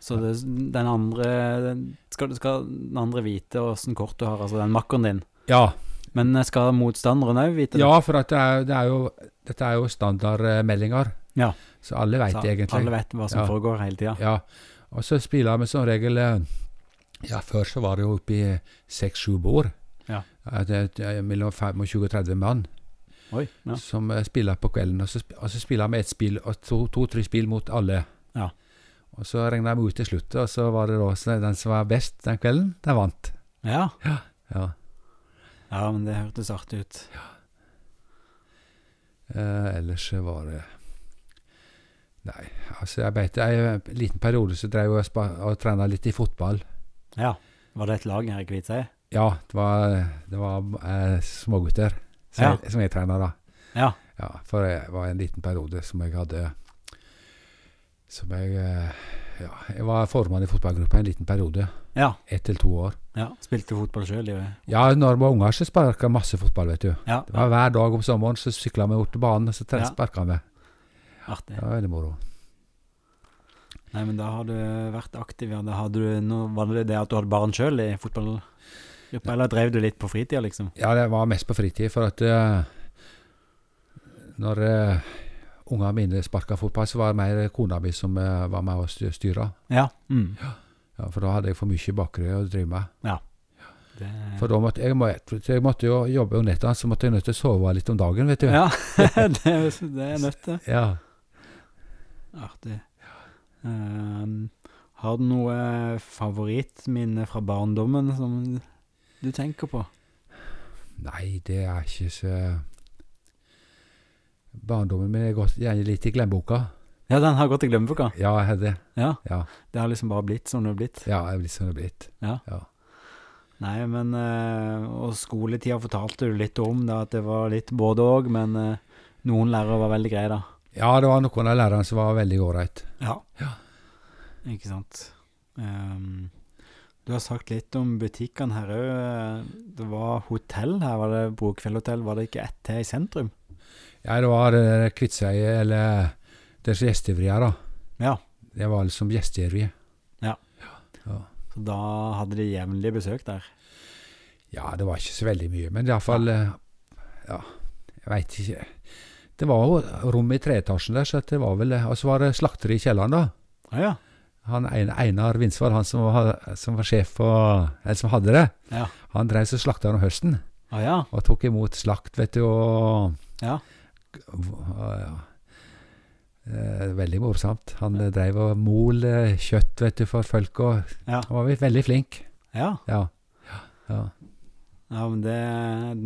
Speaker 2: Så det, den andre den, skal, skal den andre vite åssen kort du har, altså den makkeren din?
Speaker 1: Ja,
Speaker 2: Men eh, skal motstanderen òg vite det?
Speaker 1: ja for at det er, det er jo, dette er jo standardmeldinger.
Speaker 2: Ja.
Speaker 1: Så alle veit
Speaker 2: Så
Speaker 1: det egentlig.
Speaker 2: Alle vet hva som
Speaker 1: Ja.
Speaker 2: foregår hele tida.
Speaker 1: Ja, og så spiller vi som regel eh, Ja, før så var det jo oppi seks-sju bord.
Speaker 2: Ja.
Speaker 1: Eh, det- det er Mellom 25 og 30 mann
Speaker 2: Oi. Ja.
Speaker 1: som eh, spiller på kvelden. Og så, sp- og så spiller vi ett spill, og to-tre spill mot alle.
Speaker 2: Ja.
Speaker 1: Og så regna vi ut til slutt, og så var det da så den som var best den kvelden, den vant.
Speaker 2: ja.
Speaker 1: Ja.
Speaker 2: Ja, men det hørtes artig ut.
Speaker 1: Eh, ellers så var det Nei, altså jeg beit En liten periode så drev jeg og, spa- og trena litt i fotball.
Speaker 2: Ja. Var det et lag her i Kviteseid?
Speaker 1: Ja, det var, det var eh, smågutter som,
Speaker 2: Ja.
Speaker 1: jeg, som jeg trener da.
Speaker 2: Ja.
Speaker 1: Ja, for det var en liten periode som jeg hadde Som jeg eh, Ja, jeg var formann i fotballgruppa en liten periode.
Speaker 2: Ja.
Speaker 1: Ett til to år.
Speaker 2: ja. Spilte fotball sjøl, jo.
Speaker 1: Ja, når vi var unger, så sparka jeg masse fotball, vet du.
Speaker 2: Ja.
Speaker 1: Det var Hver dag om sommeren så sykla vi bort til banen, og så tre-
Speaker 2: Ja.
Speaker 1: sparka vi.
Speaker 2: Artig.
Speaker 1: Det var veldig moro.
Speaker 2: Nei, men da har du vært aktiv, ja. Da hadde du, nå var det det at du hadde barn sjøl i fotballgruppa, eller drev du litt på fritida, liksom?
Speaker 1: Ja, det var mest på fritid, for at eh, Når uh, ungene mine sparka fotball, så var det mer kona mi som eh, var med og sty- styra.
Speaker 2: Ja. Mm.
Speaker 1: Ja, for da hadde jeg for mye bakeri å drive med.
Speaker 2: Det,
Speaker 1: For da måtte jeg, må- jeg måtte jo jobbe om nettene, så måtte jeg nødt til å sove litt om dagen, vet du.
Speaker 2: ja, <laughs> det, er- det er nødt til.
Speaker 1: Ja.
Speaker 2: Artig. Ehm, har du noe favorittminne fra barndommen som du tenker på?
Speaker 1: Nei, det er ikke så Barndommen min er gått gjerne litt i glemmeboka.
Speaker 2: Ja, den har gått i glemmeboka.
Speaker 1: Ja, jeg hadde
Speaker 2: Ja.
Speaker 1: Ja.
Speaker 2: Det har liksom bare blitt som det har blitt.
Speaker 1: Ja, jeg er blitt som jeg er blitt.
Speaker 2: Nei, men eh, Og skoletida fortalte du litt om, da, at det var litt både òg, men eh, noen lærere var veldig greie, da.
Speaker 1: Ja, det var noen av lærerne som var veldig ålreit.
Speaker 2: Ja. Ikke sant. Ehm, du har sagt litt om butikkene her òg. Det var hotell her, var det Brokveldhotell? Var det ikke ett til i sentrum?
Speaker 1: Ja, det var eh, Kviteseid, eller deres gjestgiveri her, da.
Speaker 2: Ja.
Speaker 1: Det var liksom gjestgiveri.
Speaker 2: Så da hadde de jevnlig besøk der.
Speaker 1: Ja, det var ikke så veldig mye, men iallfall eh, Ja, jeg veit ikke. Det var jo rom i treetasjen der, så det var vel eh, Og så var det slakteri i kjelleren, da.
Speaker 2: Å ja.
Speaker 1: Han ene, Einar Vinsvold, han som var, som var sjef på Eller som hadde det,
Speaker 2: Ja.
Speaker 1: han drev og slakta om høsten.
Speaker 2: Å ja.
Speaker 1: Og tok imot slakt, vet du, og
Speaker 2: Ja.
Speaker 1: og, ja. Eh, Veldig morsomt. Han eh, drev og mol eh, kjøtt vet du, for folk, og
Speaker 2: Ja.
Speaker 1: han var veldig flink.
Speaker 2: ja.
Speaker 1: Ja. ja.
Speaker 2: Ja, men det,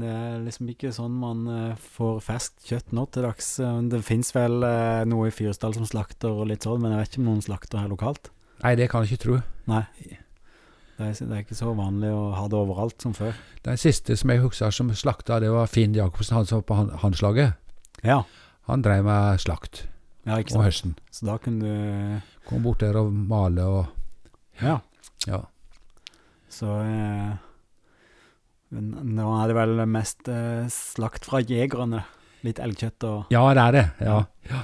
Speaker 2: det er liksom ikke sånn man eh, får ferskt kjøtt nå til dags. Eh, men Det fins vel eh, noe i Fyresdal som slakter og litt sånn, men jeg vet ikke om noen slakter her lokalt.
Speaker 1: Nei, det kan jeg ikke tro.
Speaker 2: Det er, det er ikke så vanlig å ha det overalt som før.
Speaker 1: Den siste som jeg husker som slakta, det var Finn Jacobsen, han som var på han- Handslaget.
Speaker 2: Ja,
Speaker 1: Han drev med slakt
Speaker 2: ja ikke
Speaker 1: om
Speaker 2: sant.
Speaker 1: høsten.
Speaker 2: Så da kunne du eh,
Speaker 1: Kom bort der og male og
Speaker 2: Ja.
Speaker 1: Ja.
Speaker 2: Så eh, men Nå er det vel mest eh, slakt fra jegerne. Litt elgkjøtt og
Speaker 1: Ja, det er det. Ja. ja.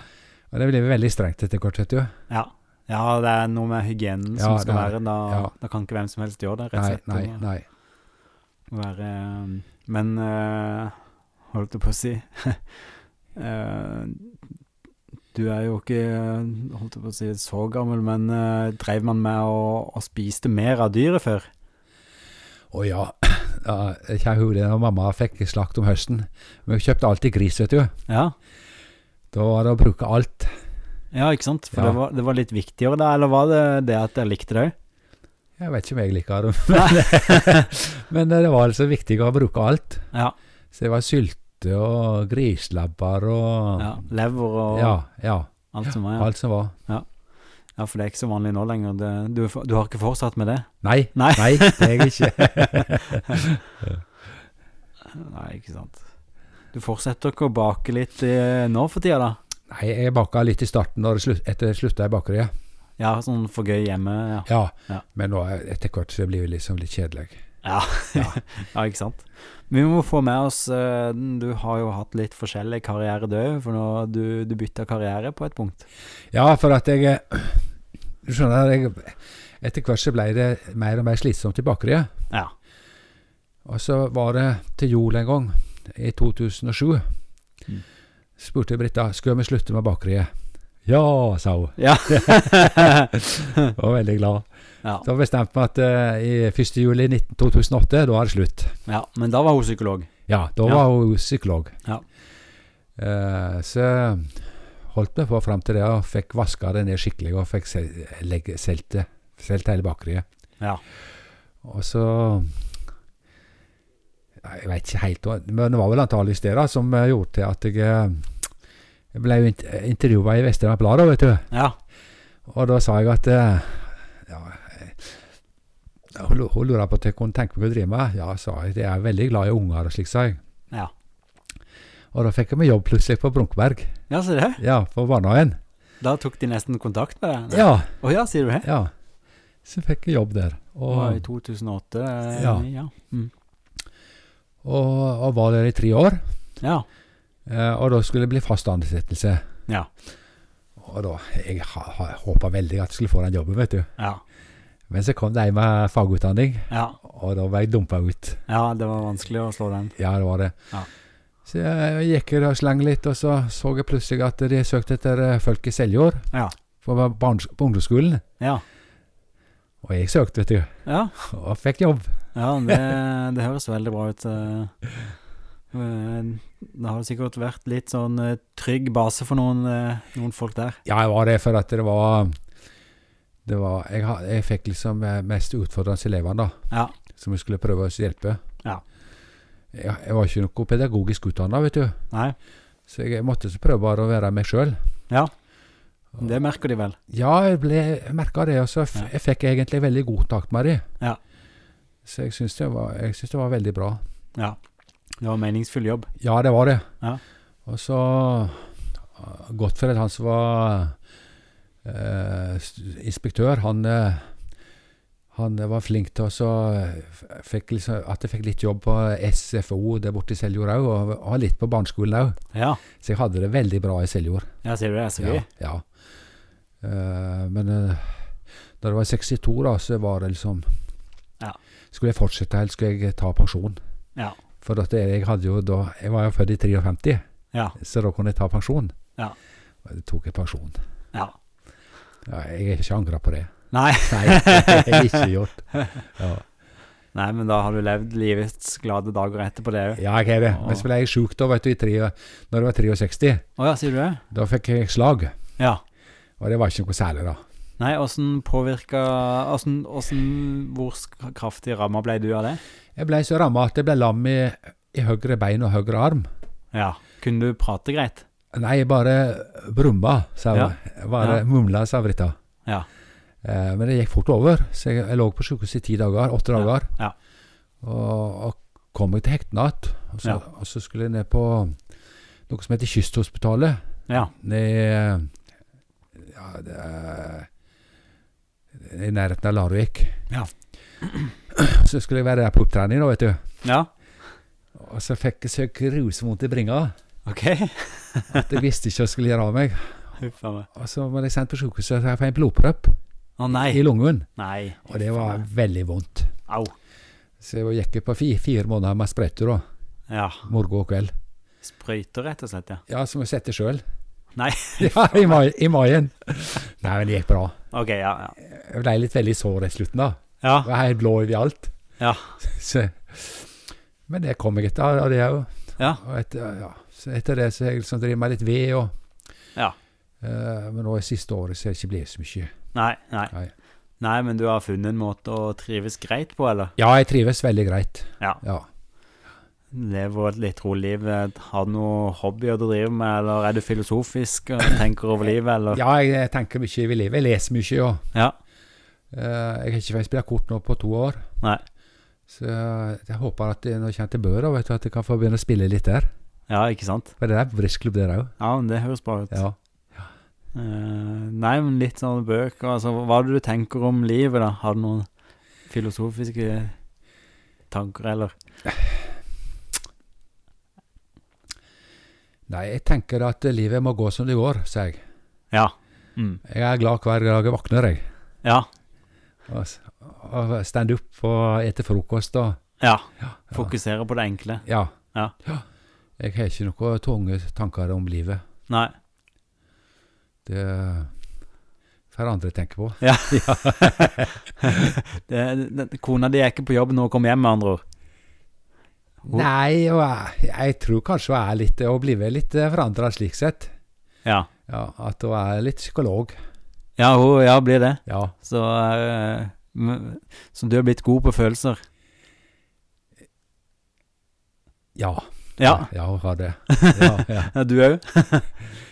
Speaker 1: Og det ble veldig strengt etter hvert, vet du.
Speaker 2: Ja. ja, det er noe med hygienen som
Speaker 1: Ja,
Speaker 2: skal
Speaker 1: det er-
Speaker 2: være. Da,
Speaker 1: ja.
Speaker 2: da kan ikke hvem som helst gjøre det. rett og
Speaker 1: Nei,
Speaker 2: slett.
Speaker 1: nei,
Speaker 2: Det må-
Speaker 1: nei.
Speaker 2: må være um, Men eh, holdt jeg på å si <laughs> eh, Du er jo ikke eh, holdt jeg på å si, så gammel, men eh, drev man med å, å spiste mer av dyret før?
Speaker 1: Å ja. <clears throat> ja kjære hode, når mamma fikk slakt om høsten. Men hun kjøpte alltid gris, vet du.
Speaker 2: Ja.
Speaker 1: Da var det å bruke alt.
Speaker 2: Ja, ikke sant? For
Speaker 1: Ja.
Speaker 2: det, var, det var litt viktigere da, eller var det det at jeg likte det òg?
Speaker 1: Jeg vet ikke om jeg liker det, <laughs> men,
Speaker 2: <laughs>
Speaker 1: men det var altså viktig å bruke alt.
Speaker 2: Ja,
Speaker 1: Så det var sylte og grislabber og
Speaker 2: ja. Lever og
Speaker 1: ja, ja,
Speaker 2: alt som var. Ja.
Speaker 1: alt som var.
Speaker 2: ja, for det er ikke så vanlig nå lenger. Det, du, er for- du har ikke fortsatt med det?
Speaker 1: Nei,
Speaker 2: Nei.
Speaker 1: nei, det er jeg
Speaker 2: <laughs>
Speaker 1: ikke.
Speaker 2: Nei, ikke sant. Du fortsetter ikke å bake litt eh, nå for tida, da?
Speaker 1: nei, jeg baka litt i starten, når det slutt, etter slutta i bakeriet.
Speaker 2: Ja, sånn for gøy hjemme, ja.
Speaker 1: Ja,
Speaker 2: Ja.
Speaker 1: men nå er- etter hvert så blir det liksom litt kjedelig.
Speaker 2: Ja, ja. ikke sant. Vi må få med oss eh, Du har jo hatt litt forskjellig karriere, du òg, for nå du, du bytta karriere på et punkt.
Speaker 1: Ja, for at jeg <clears throat> eh, Du skjønner, jeg, etter hvert så ble det mer og mer slitsomt i bakeriet.
Speaker 2: Ja.
Speaker 1: Og så var det til jul en gang, i 2007,
Speaker 2: Mm.
Speaker 1: spurte jeg Britta skal vi slutte med bakeriet. Ja, sa hun,
Speaker 2: <laughs> Ja.
Speaker 1: og var veldig glad.
Speaker 2: ja.
Speaker 1: Da bestemte vi at eh, i 1. juli 19 2008, da er det slutt.
Speaker 2: ja. Men da var hun psykolog.
Speaker 1: Ja, da
Speaker 2: Ja.
Speaker 1: var hun psykolog.
Speaker 2: Ja.
Speaker 1: Eh, så holdt vi på fram til det, og fikk vaska det ned skikkelig, og fikk sel- legge- solgt det- solgt hele bakeriet.
Speaker 2: Ja.
Speaker 1: Og så Nei, Jeg veit ikke helt, hva- men det var vel antakeligvis det da, som eh, gjorde til at jeg eh, jeg ble intervjua i Vestland Blad, da, vet du.
Speaker 2: Ja.
Speaker 1: Og da sa jeg at eh, ja, eh, Hun lu- hun lurer på hva jeg kunne tenke meg å drive med. Ja, sa jeg. Jeg er veldig glad i unger og slik, sa jeg.
Speaker 2: Ja.
Speaker 1: Og da fikk jeg meg jobb plutselig på Brunkeberg.
Speaker 2: Ja, se det.
Speaker 1: Ja, på barnehagen.
Speaker 2: Da tok de nesten kontakt med deg?
Speaker 1: Ja,
Speaker 2: Å ja, sier du det?
Speaker 1: ja. Så fikk jeg jobb der.
Speaker 2: Det var i
Speaker 1: Og,
Speaker 2: 2008? eh,
Speaker 1: Ja.
Speaker 2: Ja. Mm.
Speaker 1: og, og var der i tre år.
Speaker 2: ja.
Speaker 1: Eh, og da skulle det bli fast ansettelse.
Speaker 2: Ja.
Speaker 1: Og da, Jeg håpa veldig at jeg skulle få den jobben, vet du.
Speaker 2: Ja.
Speaker 1: Men så kom det ei med fagutdanning,
Speaker 2: ja.
Speaker 1: og da ble jeg dumpa ut.
Speaker 2: Ja, det var vanskelig å slå den.
Speaker 1: Ja, det var det.
Speaker 2: Ja.
Speaker 1: Så jeg gikk og slang litt, og så så jeg plutselig at de søkte etter eh, folk i Seljord.
Speaker 2: Ja.
Speaker 1: På, barnes- på ungdomsskolen.
Speaker 2: Ja.
Speaker 1: Og jeg søkte, vet du.
Speaker 2: Ja,
Speaker 1: Og fikk jobb.
Speaker 2: ja det, det høres veldig bra ut. eh. Eh, Det har sikkert vært litt sånn eh, trygg base for noen, eh, noen folk der.
Speaker 1: Ja, jeg var det, for at det var det var, jeg, ha- jeg fikk liksom eh, mest utfordrende elevene, da.
Speaker 2: Ja.
Speaker 1: Som jeg skulle prøve å hjelpe.
Speaker 2: Ja.
Speaker 1: Jeg, jeg var ikke noe pedagogisk utdanna, vet du.
Speaker 2: Nei,
Speaker 1: Så jeg måtte så prøve bare å være meg sjøl.
Speaker 2: Ja. det merker de vel.
Speaker 1: Ja, jeg, ble- jeg merka det. Og så f
Speaker 2: Ja.
Speaker 1: jeg fikk egentlig veldig god takt med dem.
Speaker 2: Ja.
Speaker 1: Så jeg syns det, var- jeg syns det var veldig bra.
Speaker 2: Ja. Det var meningsfull jobb.
Speaker 1: Ja, det var det.
Speaker 2: Ja.
Speaker 1: Og så uh, Gottfred, han som var eh, s- inspektør, han, eh, han var flink til å så f- fikk liksom, At jeg fikk litt jobb på SFO der borte i Seljord òg, og, og litt på barneskolen òg.
Speaker 2: Ja,
Speaker 1: Så jeg hadde det veldig bra i Seljord.
Speaker 2: ja sier du det? Så gøy.
Speaker 1: Ja, ja. Eh, men eh, da det var 62, da, så var det liksom
Speaker 2: Ja.
Speaker 1: Skulle jeg fortsette, eller skulle jeg ta pensjon?
Speaker 2: Ja.
Speaker 1: For at jeg, hadde jo da, jeg var jo født i 53,
Speaker 2: Ja.
Speaker 1: så da kunne jeg ta pensjon.
Speaker 2: Ja.
Speaker 1: Og Da tok jeg pensjon.
Speaker 2: ja.
Speaker 1: Ja, jeg har ikke angra på det.
Speaker 2: <laughs> Nei.
Speaker 1: Nei, det har jeg ikke gjort. Ja,
Speaker 2: Nei, men da har du levd livets glade dager etterpå det òg.
Speaker 1: ja jeg har det. Men så ble jeg sjuk da, vet du, i tre, når jeg var 63.
Speaker 2: Å ja, sier du det?
Speaker 1: Da fikk jeg slag,
Speaker 2: Ja.
Speaker 1: og det var ikke noe særlig da.
Speaker 2: Nei, åssen påvirka åssen- åssen- Hvor sk- kraftig ramma ble du av det?
Speaker 1: Jeg ble så ramma at jeg ble lam i, i høyre bein og høyre arm.
Speaker 2: Ja. Kunne du prate greit?
Speaker 1: Nei, bare brumma, sa
Speaker 2: Ja.
Speaker 1: jeg. Bare
Speaker 2: Ja.
Speaker 1: mumla, sa Britta.
Speaker 2: Ja.
Speaker 1: Eh, men det gikk fort over, så jeg, jeg lå på sykehuset i ti dager, åtte
Speaker 2: Ja,
Speaker 1: dager.
Speaker 2: ja.
Speaker 1: Og, og kom meg til hekten igjen. Og, så-
Speaker 2: Ja.
Speaker 1: og så skulle jeg ned på noe som heter Kysthospitalet.
Speaker 2: Ja.
Speaker 1: Ned Ja, det er I nærheten av Larvik.
Speaker 2: Ja.
Speaker 1: <clears throat> Så skulle jeg være der på opptrening, da, vet du.
Speaker 2: Ja.
Speaker 1: Og så fikk jeg så grusvondt i bringa
Speaker 2: OK.
Speaker 1: at jeg visste ikke hva jeg skulle gjøre av meg.
Speaker 2: Huff a meg.
Speaker 1: Og så ble jeg sendt på sykehuset for jeg fikk en blodpropp
Speaker 2: Å
Speaker 1: i
Speaker 2: nei.
Speaker 1: lungen.
Speaker 2: Nei.
Speaker 1: Og det var veldig vondt.
Speaker 2: Au.
Speaker 1: Så jeg gikk på fi- fire måneder med sprøyter da,
Speaker 2: Ja.
Speaker 1: morgen og kveld.
Speaker 2: Sprøyter, rett og slett, ja.
Speaker 1: Ja, som jeg setter sjøl.
Speaker 2: Nei.
Speaker 1: <laughs> Ja, i, mai, I maien. Nei, men det gikk bra.
Speaker 2: OK, ja. Ja.
Speaker 1: Jeg ble litt veldig sår i slutten, da.
Speaker 2: ja.
Speaker 1: Jeg var helt blå overalt.
Speaker 2: Ah. Ja.
Speaker 1: <laughs> Så, men det kom jeg etter, og det òg.
Speaker 2: Ja.
Speaker 1: Og etter, ja. så etter det så har jeg liksom drevet meg litt ved og
Speaker 2: Ja.
Speaker 1: Eh, men nå i siste året så er det ikke blitt så mye.
Speaker 2: Nei, nei.
Speaker 1: Nei.
Speaker 2: Nei, men du har funnet en måte å trives greit på, eller?
Speaker 1: Ja, jeg trives veldig greit.
Speaker 2: Ja.
Speaker 1: Ja.
Speaker 2: Lever et litt rolig liv. Har du noe hobbyer du driver med, eller er du
Speaker 1: <laughs>
Speaker 2: filosofisk og tenker over livet, eller?
Speaker 1: ja, jeg eh, tenker mye i livet. Jeg leser mye òg.
Speaker 2: Ja.
Speaker 1: jeg har ikke fått spilt kort nå på to år.
Speaker 2: Nei.
Speaker 1: Så eh, jeg håper at jeg, når jeg kommer til Bø, da, vet du, at jeg kan få begynne å spille litt der.
Speaker 2: Ja, ikke sant?
Speaker 1: For det er briskklubb der òg.
Speaker 2: Ja, men det høres bra ut.
Speaker 1: Ja.
Speaker 2: Eh, nei, men litt sånne bøker, altså. Hva er det du tenker om livet, da? Har du noen filosofiske tanker, eller?
Speaker 1: Nei, jeg tenker at livet må gå som det går, sier jeg.
Speaker 2: Ja. Mm.
Speaker 1: Jeg er glad hver dag jeg våkner, jeg.
Speaker 2: Ja.
Speaker 1: Og, s- og stender opp og eter frokost og
Speaker 2: Ja. Fokusere på det enkle.
Speaker 1: Ja.
Speaker 2: Ja.
Speaker 1: Jeg har ikke noen tunge tanker om livet.
Speaker 2: <laughs> Nei.
Speaker 1: Det eh, får andre tenke på.
Speaker 2: Ja. det, det, kona di er ikke på jobb når hun kommer hjem, med andre ord. Hvor-
Speaker 1: Nei, og jeg, jeg tror kanskje hun er litt Hun blir vel litt forandra slik sett.
Speaker 2: Ja.
Speaker 1: Ja, At hun er litt psykolog.
Speaker 2: Ja, hun ja, blir det.
Speaker 1: Ja.
Speaker 2: Så, eh, m- så du er blitt god på følelser.
Speaker 1: Ja,
Speaker 2: Ja.
Speaker 1: ja hun har det. Ja, ja.
Speaker 2: Du òg?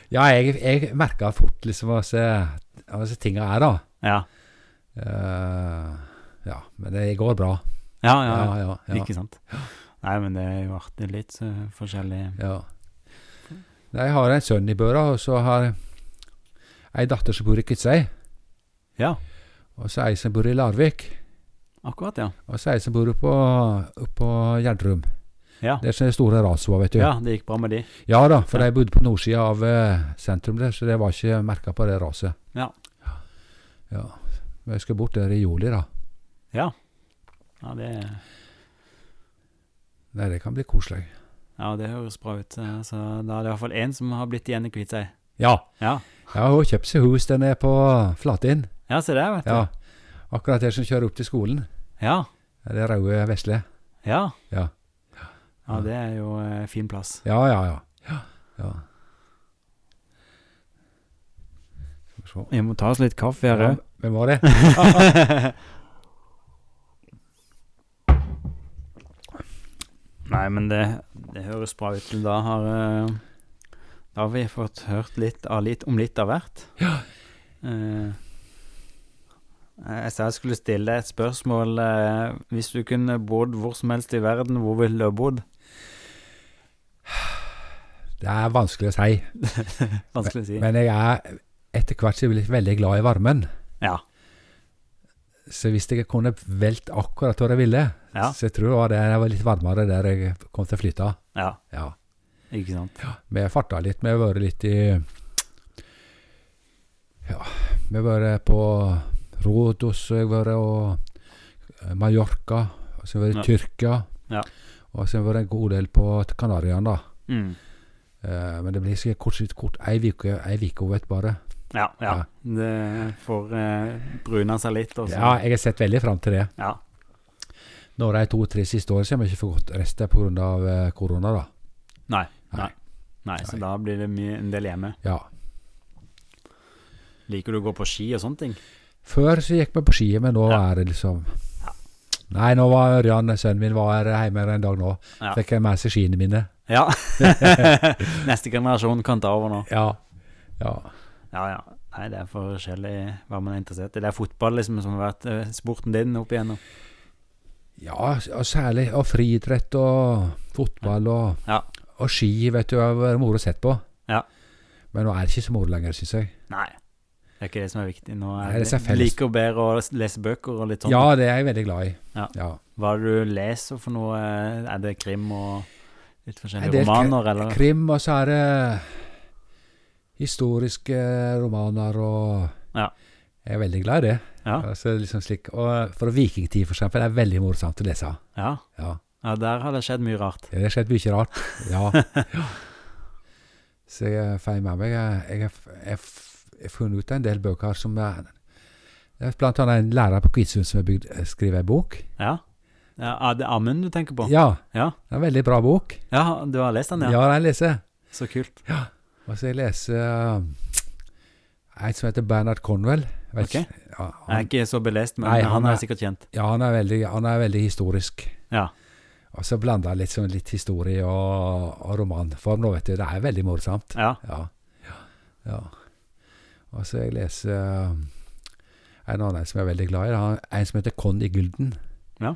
Speaker 1: ja jeg, jeg merker fort liksom hva disse tinga er, da.
Speaker 2: Ja.
Speaker 1: Eh, ja, men det går bra.
Speaker 2: Ja, ja,
Speaker 1: Ja, ja, ja.
Speaker 2: Ikke sant. Nei, men det er jo artig. Litt eh, forskjellig
Speaker 1: ja. Nei, Jeg har en sønn i Børa, og så har jeg ei datter som bor i Kvitsøy.
Speaker 2: Ja,
Speaker 1: Og så ei som bor i Larvik.
Speaker 2: akkurat, ja.
Speaker 1: Og så ei som bor oppå, oppå Gjerdrum.
Speaker 2: Ja.
Speaker 1: Det er sånne store rasua, vet du.
Speaker 2: ja, det gikk bra med de.
Speaker 1: Ja da, for de bodde på nordsida av eh, sentrum der, så det var ikke merka på det raset.
Speaker 2: Ja.
Speaker 1: ja. Men jeg skal bort der i juli, da.
Speaker 2: Ja. Ja, det,
Speaker 1: Nei, det kan bli koselig.
Speaker 2: ja, det høres bra ut. eh, Så da er det iallfall én som har blitt igjen i Kviteseid.
Speaker 1: Ja.
Speaker 2: Ja.
Speaker 1: Jeg har jo kjøpt seg hus der nede på Flatinn.
Speaker 2: ja, se der, vet du.
Speaker 1: Ja. Akkurat der som kjører opp til skolen.
Speaker 2: Ja.
Speaker 1: Det er Det røde vesle.
Speaker 2: Ja.
Speaker 1: Ja.
Speaker 2: Ja, det er jo eh, fin plass.
Speaker 1: Ja, ja, ja. ja. Skal vi se.
Speaker 2: Vi må ta oss litt kaffe
Speaker 1: Ja,
Speaker 2: her eh. òg.
Speaker 1: hvem var det?
Speaker 2: Nei, men det, det høres bra ut. Da har, eh, da har vi fått hørt litt, av litt om litt av hvert.
Speaker 1: Ja.
Speaker 2: Eh, jeg sa jeg skulle stille deg et spørsmål. eh, hvis du kunne bodd hvor som helst i verden, hvor ville du ha bodd?
Speaker 1: Det er vanskelig å si.
Speaker 2: Vanskelig å si.
Speaker 1: Men jeg er etter hvert så blitt veldig glad i varmen.
Speaker 2: Ja.
Speaker 1: Så hvis jeg kunne velt akkurat hvor jeg ville,
Speaker 2: Ja.
Speaker 1: så jeg tror det var det jeg var litt varmere der jeg kom til å flytte.
Speaker 2: ja.
Speaker 1: Ja.
Speaker 2: Ikke sant.
Speaker 1: Vi har farta litt. Vi har vært litt i Ja, vi har vært på Rodos, og jeg har vært og eh, Mallorca, og så har vi vært i Tyrkia.
Speaker 2: Ja.
Speaker 1: Og så har vi vært en god del på Kanariøyene, da.
Speaker 2: Mm.
Speaker 1: Eh, men det blir sikkert kort, sikkert kort ei uke, ei uke, vet bare.
Speaker 2: Ja, ja.
Speaker 1: Ja.
Speaker 2: Det får eh, bruna seg litt. Også.
Speaker 1: Ja, jeg har sett veldig fram til det.
Speaker 2: ja.
Speaker 1: Nå de to-tre siste årene så har vi ikke fått resten pga. eh, korona, da.
Speaker 2: Nei.
Speaker 1: Nei.
Speaker 2: Nei. Nei, så da blir det mye, en del hjemme.
Speaker 1: Ja.
Speaker 2: Liker du å gå på ski og sånne ting?
Speaker 1: Før så gikk vi på ski, men nå
Speaker 2: Ja.
Speaker 1: er det liksom Nei, nå var Ørjan, sønnen min, var her hjemme en dag nå.
Speaker 2: Ja.
Speaker 1: Fikk jeg med seg skiene mine.
Speaker 2: <laughs> Ja. Neste generasjon kan ta over nå.
Speaker 1: Ja. ja.
Speaker 2: Ja, ja. Nei, det er forskjellig hva man er interessert i. Det er fotball liksom som har vært eh, sporten din opp igjennom.
Speaker 1: Ja, og særlig og friidrett og fotball og,
Speaker 2: Ja.
Speaker 1: og ski, vet du, har vært moro å sett på.
Speaker 2: Ja.
Speaker 1: Men nå er det ikke så moro lenger, syns jeg.
Speaker 2: Nei. Det er ikke det som er viktig. Nå
Speaker 1: Nei,
Speaker 2: er
Speaker 1: det er
Speaker 2: det,
Speaker 1: så
Speaker 2: du
Speaker 1: felles-
Speaker 2: liker bedre å les- lese bøker og litt sånn.
Speaker 1: Ja, det er jeg veldig glad i.
Speaker 2: Ja.
Speaker 1: ja.
Speaker 2: Hva er det du leser for noe? Er det krim og litt
Speaker 1: En
Speaker 2: forskjellige
Speaker 1: del
Speaker 2: romaner, eller?
Speaker 1: Krim, og så er det historiske romaner og
Speaker 2: Ja.
Speaker 1: Jeg er veldig glad i det.
Speaker 2: Ja.
Speaker 1: Altså, liksom slik, og for vikingtid, for eksempel, er det veldig morsomt å lese.
Speaker 2: Ja.
Speaker 1: Ja.
Speaker 2: ja, der har det skjedd mye rart.
Speaker 1: Det har skjedd mye rart. Ja.
Speaker 2: <laughs>
Speaker 1: Så jeg får med meg Jeg, jeg, har- jeg, f- jeg har funnet ut av en del bøker som er det er Blant annet en lærer på Kvitsund som har bygd- skrevet en bok.
Speaker 2: Ja. ja er det Amund du tenker på?
Speaker 1: Ja,
Speaker 2: Ja.
Speaker 1: det er en veldig bra bok.
Speaker 2: Sånn, Ja, du har lest den,
Speaker 1: Ja,
Speaker 2: ja?
Speaker 1: den leser jeg.
Speaker 2: Så kult.
Speaker 1: Og så jeg leser eh, en som heter Bernard Conwell. Jeg vet
Speaker 2: Ok.
Speaker 1: ikke- Ja,
Speaker 2: Jeg er
Speaker 1: han,
Speaker 2: ikke så belest, men
Speaker 1: Nei,
Speaker 2: han,
Speaker 1: han
Speaker 2: er
Speaker 1: er-
Speaker 2: sikkert kjent.
Speaker 1: ja han, er veldig, han er veldig historisk.
Speaker 2: Ja.
Speaker 1: Og så blanda litt, sånn, litt historie og, og romanform. Nå vet du, Det er veldig morsomt.
Speaker 2: ja.
Speaker 1: Ja. ja. Og så jeg leser eh, en annen som jeg er veldig glad i. da. Han- En som heter Conny Gulden.
Speaker 2: Ja.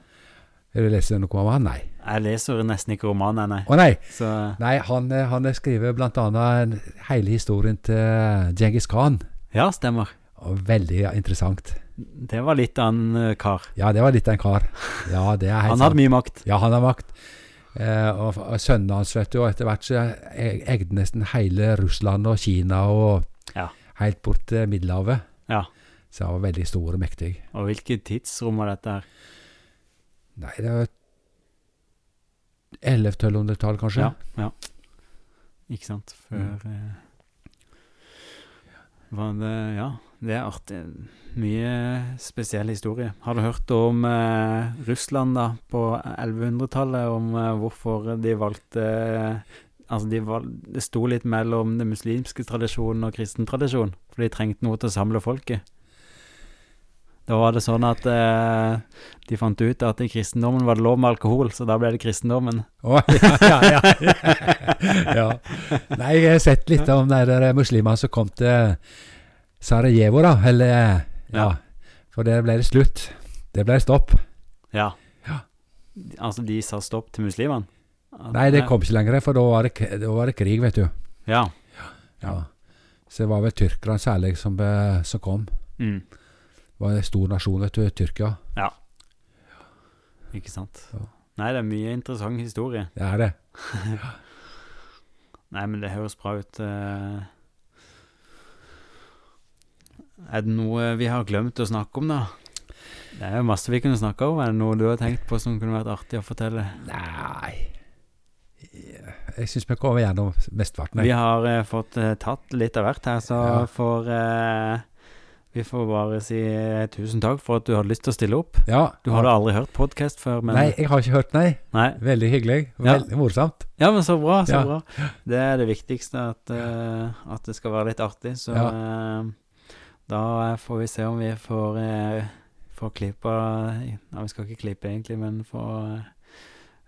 Speaker 1: Vil du lese noe om han? Nei.
Speaker 2: Jeg leser nesten ikke romaner, nei.
Speaker 1: Å nei!
Speaker 2: Så
Speaker 1: Nei, han, eh, han skriver blant annet en- hele historien til Djengis Khan.
Speaker 2: ja, stemmer.
Speaker 1: Og veldig interessant.
Speaker 2: Det var litt av en eh, kar.
Speaker 1: Ja, det var litt av en kar. Ja, det er helt
Speaker 2: Han hadde mye makt.
Speaker 1: Ja, han har makt. Eh, og, og sønnene hans, vet du, og etter hvert så e- eide nesten hele Russland og Kina og
Speaker 2: Ja.
Speaker 1: helt bort til Middelhavet.
Speaker 2: Ja.
Speaker 1: Så han var veldig stor og mektig.
Speaker 2: Og hvilket tidsrom var dette her?
Speaker 1: Nei, det var 1100-tallet, kanskje?
Speaker 2: Ja, ja. Ikke sant. Før eh, var det, Ja, det er artig. Mye spesiell historie. Har du hørt om eh, Russland da, på 1100-tallet? Om eh, hvorfor de valgte Altså, de val det sto litt mellom den muslimske tradisjonen og kristen tradisjon, for de trengte noe til å samle folket. Da var det sånn at eh, de fant ut at i kristendommen var det lov med alkohol, så da ble det kristendommen.
Speaker 1: Å, <laughs> ja, ja, ja. <laughs> ja. Nei, jeg har sett litt om de der muslimene som kom til Sarajevo, da. Eller ja.
Speaker 2: Ja.
Speaker 1: For der ble det slutt. Det ble stopp.
Speaker 2: Ja.
Speaker 1: Ja.
Speaker 2: Altså, de sa stopp til muslimene? At-
Speaker 1: Nei, det kom ikke lenger, for da var det, k- da var det krig, vet du.
Speaker 2: Ja.
Speaker 1: Ja. Så det var vel tyrkerne særlig som, eh, som kom.
Speaker 2: Mm.
Speaker 1: Det var en stor nasjon, vet du, Tyrkia.
Speaker 2: Ikke sant.
Speaker 1: Ja.
Speaker 2: Nei, det er mye interessant historie.
Speaker 1: Det er det.
Speaker 2: Nei, men det høres bra ut. eh. Er det noe vi har glemt å snakke om, da? Det er jo masse vi kunne snakka om. Er det noe du har tenkt på som kunne vært artig å fortelle?
Speaker 1: Nei Jeg syns vi kommer gjennom mesteparten.
Speaker 2: Vi
Speaker 1: jeg.
Speaker 2: har eh, fått eh, tatt litt av hvert her, så
Speaker 1: Ja.
Speaker 2: får eh, Vi får bare si eh, tusen takk for at du hadde lyst til å stille opp.
Speaker 1: Ja.
Speaker 2: Du hadde aldri hørt podkast før, men
Speaker 1: Nei, jeg har ikke hørt, nei.
Speaker 2: Nei.
Speaker 1: Veldig hyggelig.
Speaker 2: Ja.
Speaker 1: Veldig morsomt.
Speaker 2: Ja, men så bra, så
Speaker 1: Ja.
Speaker 2: bra. Det er det viktigste, at, eh, at det skal være litt artig. Så eh, da eh, får vi se om vi får, uh, får klippa Nei, vi skal ikke klippe egentlig, men få eh,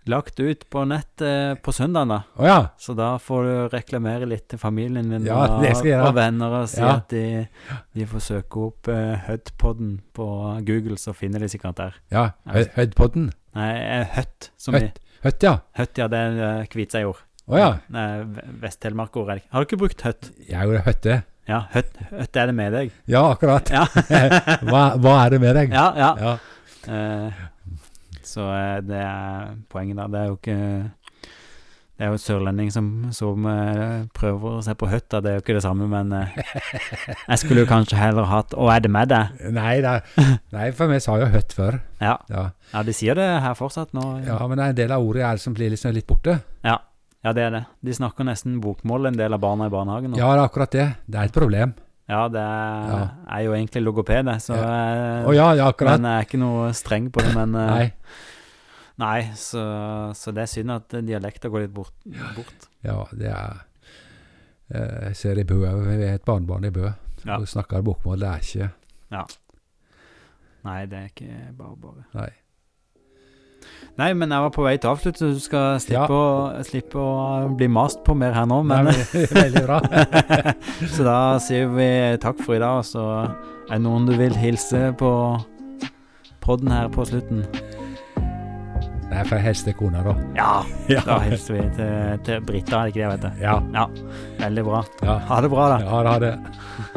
Speaker 2: lagt ut på nett eh, på søndag, da.
Speaker 1: Å ja.
Speaker 2: Så da får du reklamere litt til familien din
Speaker 1: Ja,
Speaker 2: og,
Speaker 1: det skal jeg gjøre.
Speaker 2: og venner og si
Speaker 1: Ja.
Speaker 2: at de, de får søke opp uh, Hudpodden på Google, så finner de sikkert der.
Speaker 1: ja. Hø- Høddpodden.
Speaker 2: Nei, eh, Høtt, som i
Speaker 1: Høtt. Høtt, ja.
Speaker 2: Høtt, ja, det er uh, Kviteseid-ord.
Speaker 1: Å ja.
Speaker 2: Nei, Ve- Vest-Telemark-ord er det ikke. Har du ikke brukt høtt?
Speaker 1: Jeg er jo høtte.
Speaker 2: Ja, høtt, høtt er det med deg.
Speaker 1: Ja, akkurat. <laughs>
Speaker 2: Ja, <laughs>
Speaker 1: Hva, hva er det med deg?
Speaker 2: ja. ja.
Speaker 1: Ja.
Speaker 2: Eh, så eh, det er poenget da. Det er jo ikke Det er jo sørlending som, som eh, prøver å se på høtt, da. Det er jo ikke det samme, men eh, jeg skulle jo kanskje heller hatt Å, er det med deg?
Speaker 1: Nei, det er- nei, for vi sa jo høtt før.
Speaker 2: Ja.
Speaker 1: Ja.
Speaker 2: ja, de sier det her fortsatt nå.
Speaker 1: ja, men det er en del av ordet er som blir liksom litt borte.
Speaker 2: Ja, det er det. De snakker nesten bokmål, en del av barna i barnehagen nå.
Speaker 1: Ja, det er akkurat det. Det er et problem.
Speaker 2: Ja, det er,
Speaker 1: Ja.
Speaker 2: jeg er jo egentlig logoped, jeg, så eh,
Speaker 1: Å ja, ja, akkurat.
Speaker 2: Men jeg er ikke noe streng på det, men eh,
Speaker 1: Nei.
Speaker 2: Nei, så, så det er synd at dialekter går litt bort. bort.
Speaker 1: Ja, det er eh, Jeg ser i Bø òg. Vi er et barnebarn i Bø.
Speaker 2: Ja.
Speaker 1: Hun snakker bokmål. Det er ikke
Speaker 2: Nei, det er ikke bare bare.
Speaker 1: Nei.
Speaker 2: Nei, men jeg var på vei til å avslutte, så du skal slippe,
Speaker 1: Ja.
Speaker 2: å, slippe å bli mast på mer her nå. <laughs> Men,
Speaker 1: Nei, men- eh, Veldig bra.
Speaker 2: så da sier vi takk for i dag, og så er det noen du vil hilse på podden her på slutten.
Speaker 1: <laughs> Nei, for jeg helste kona, da.
Speaker 2: Ja, da
Speaker 1: Ja.
Speaker 2: hilser vi til, til Britta, er det ikke det jeg vet?
Speaker 1: Ja.
Speaker 2: Veldig bra.
Speaker 1: ja.
Speaker 2: Ha det bra, da.
Speaker 1: Ja, ha det.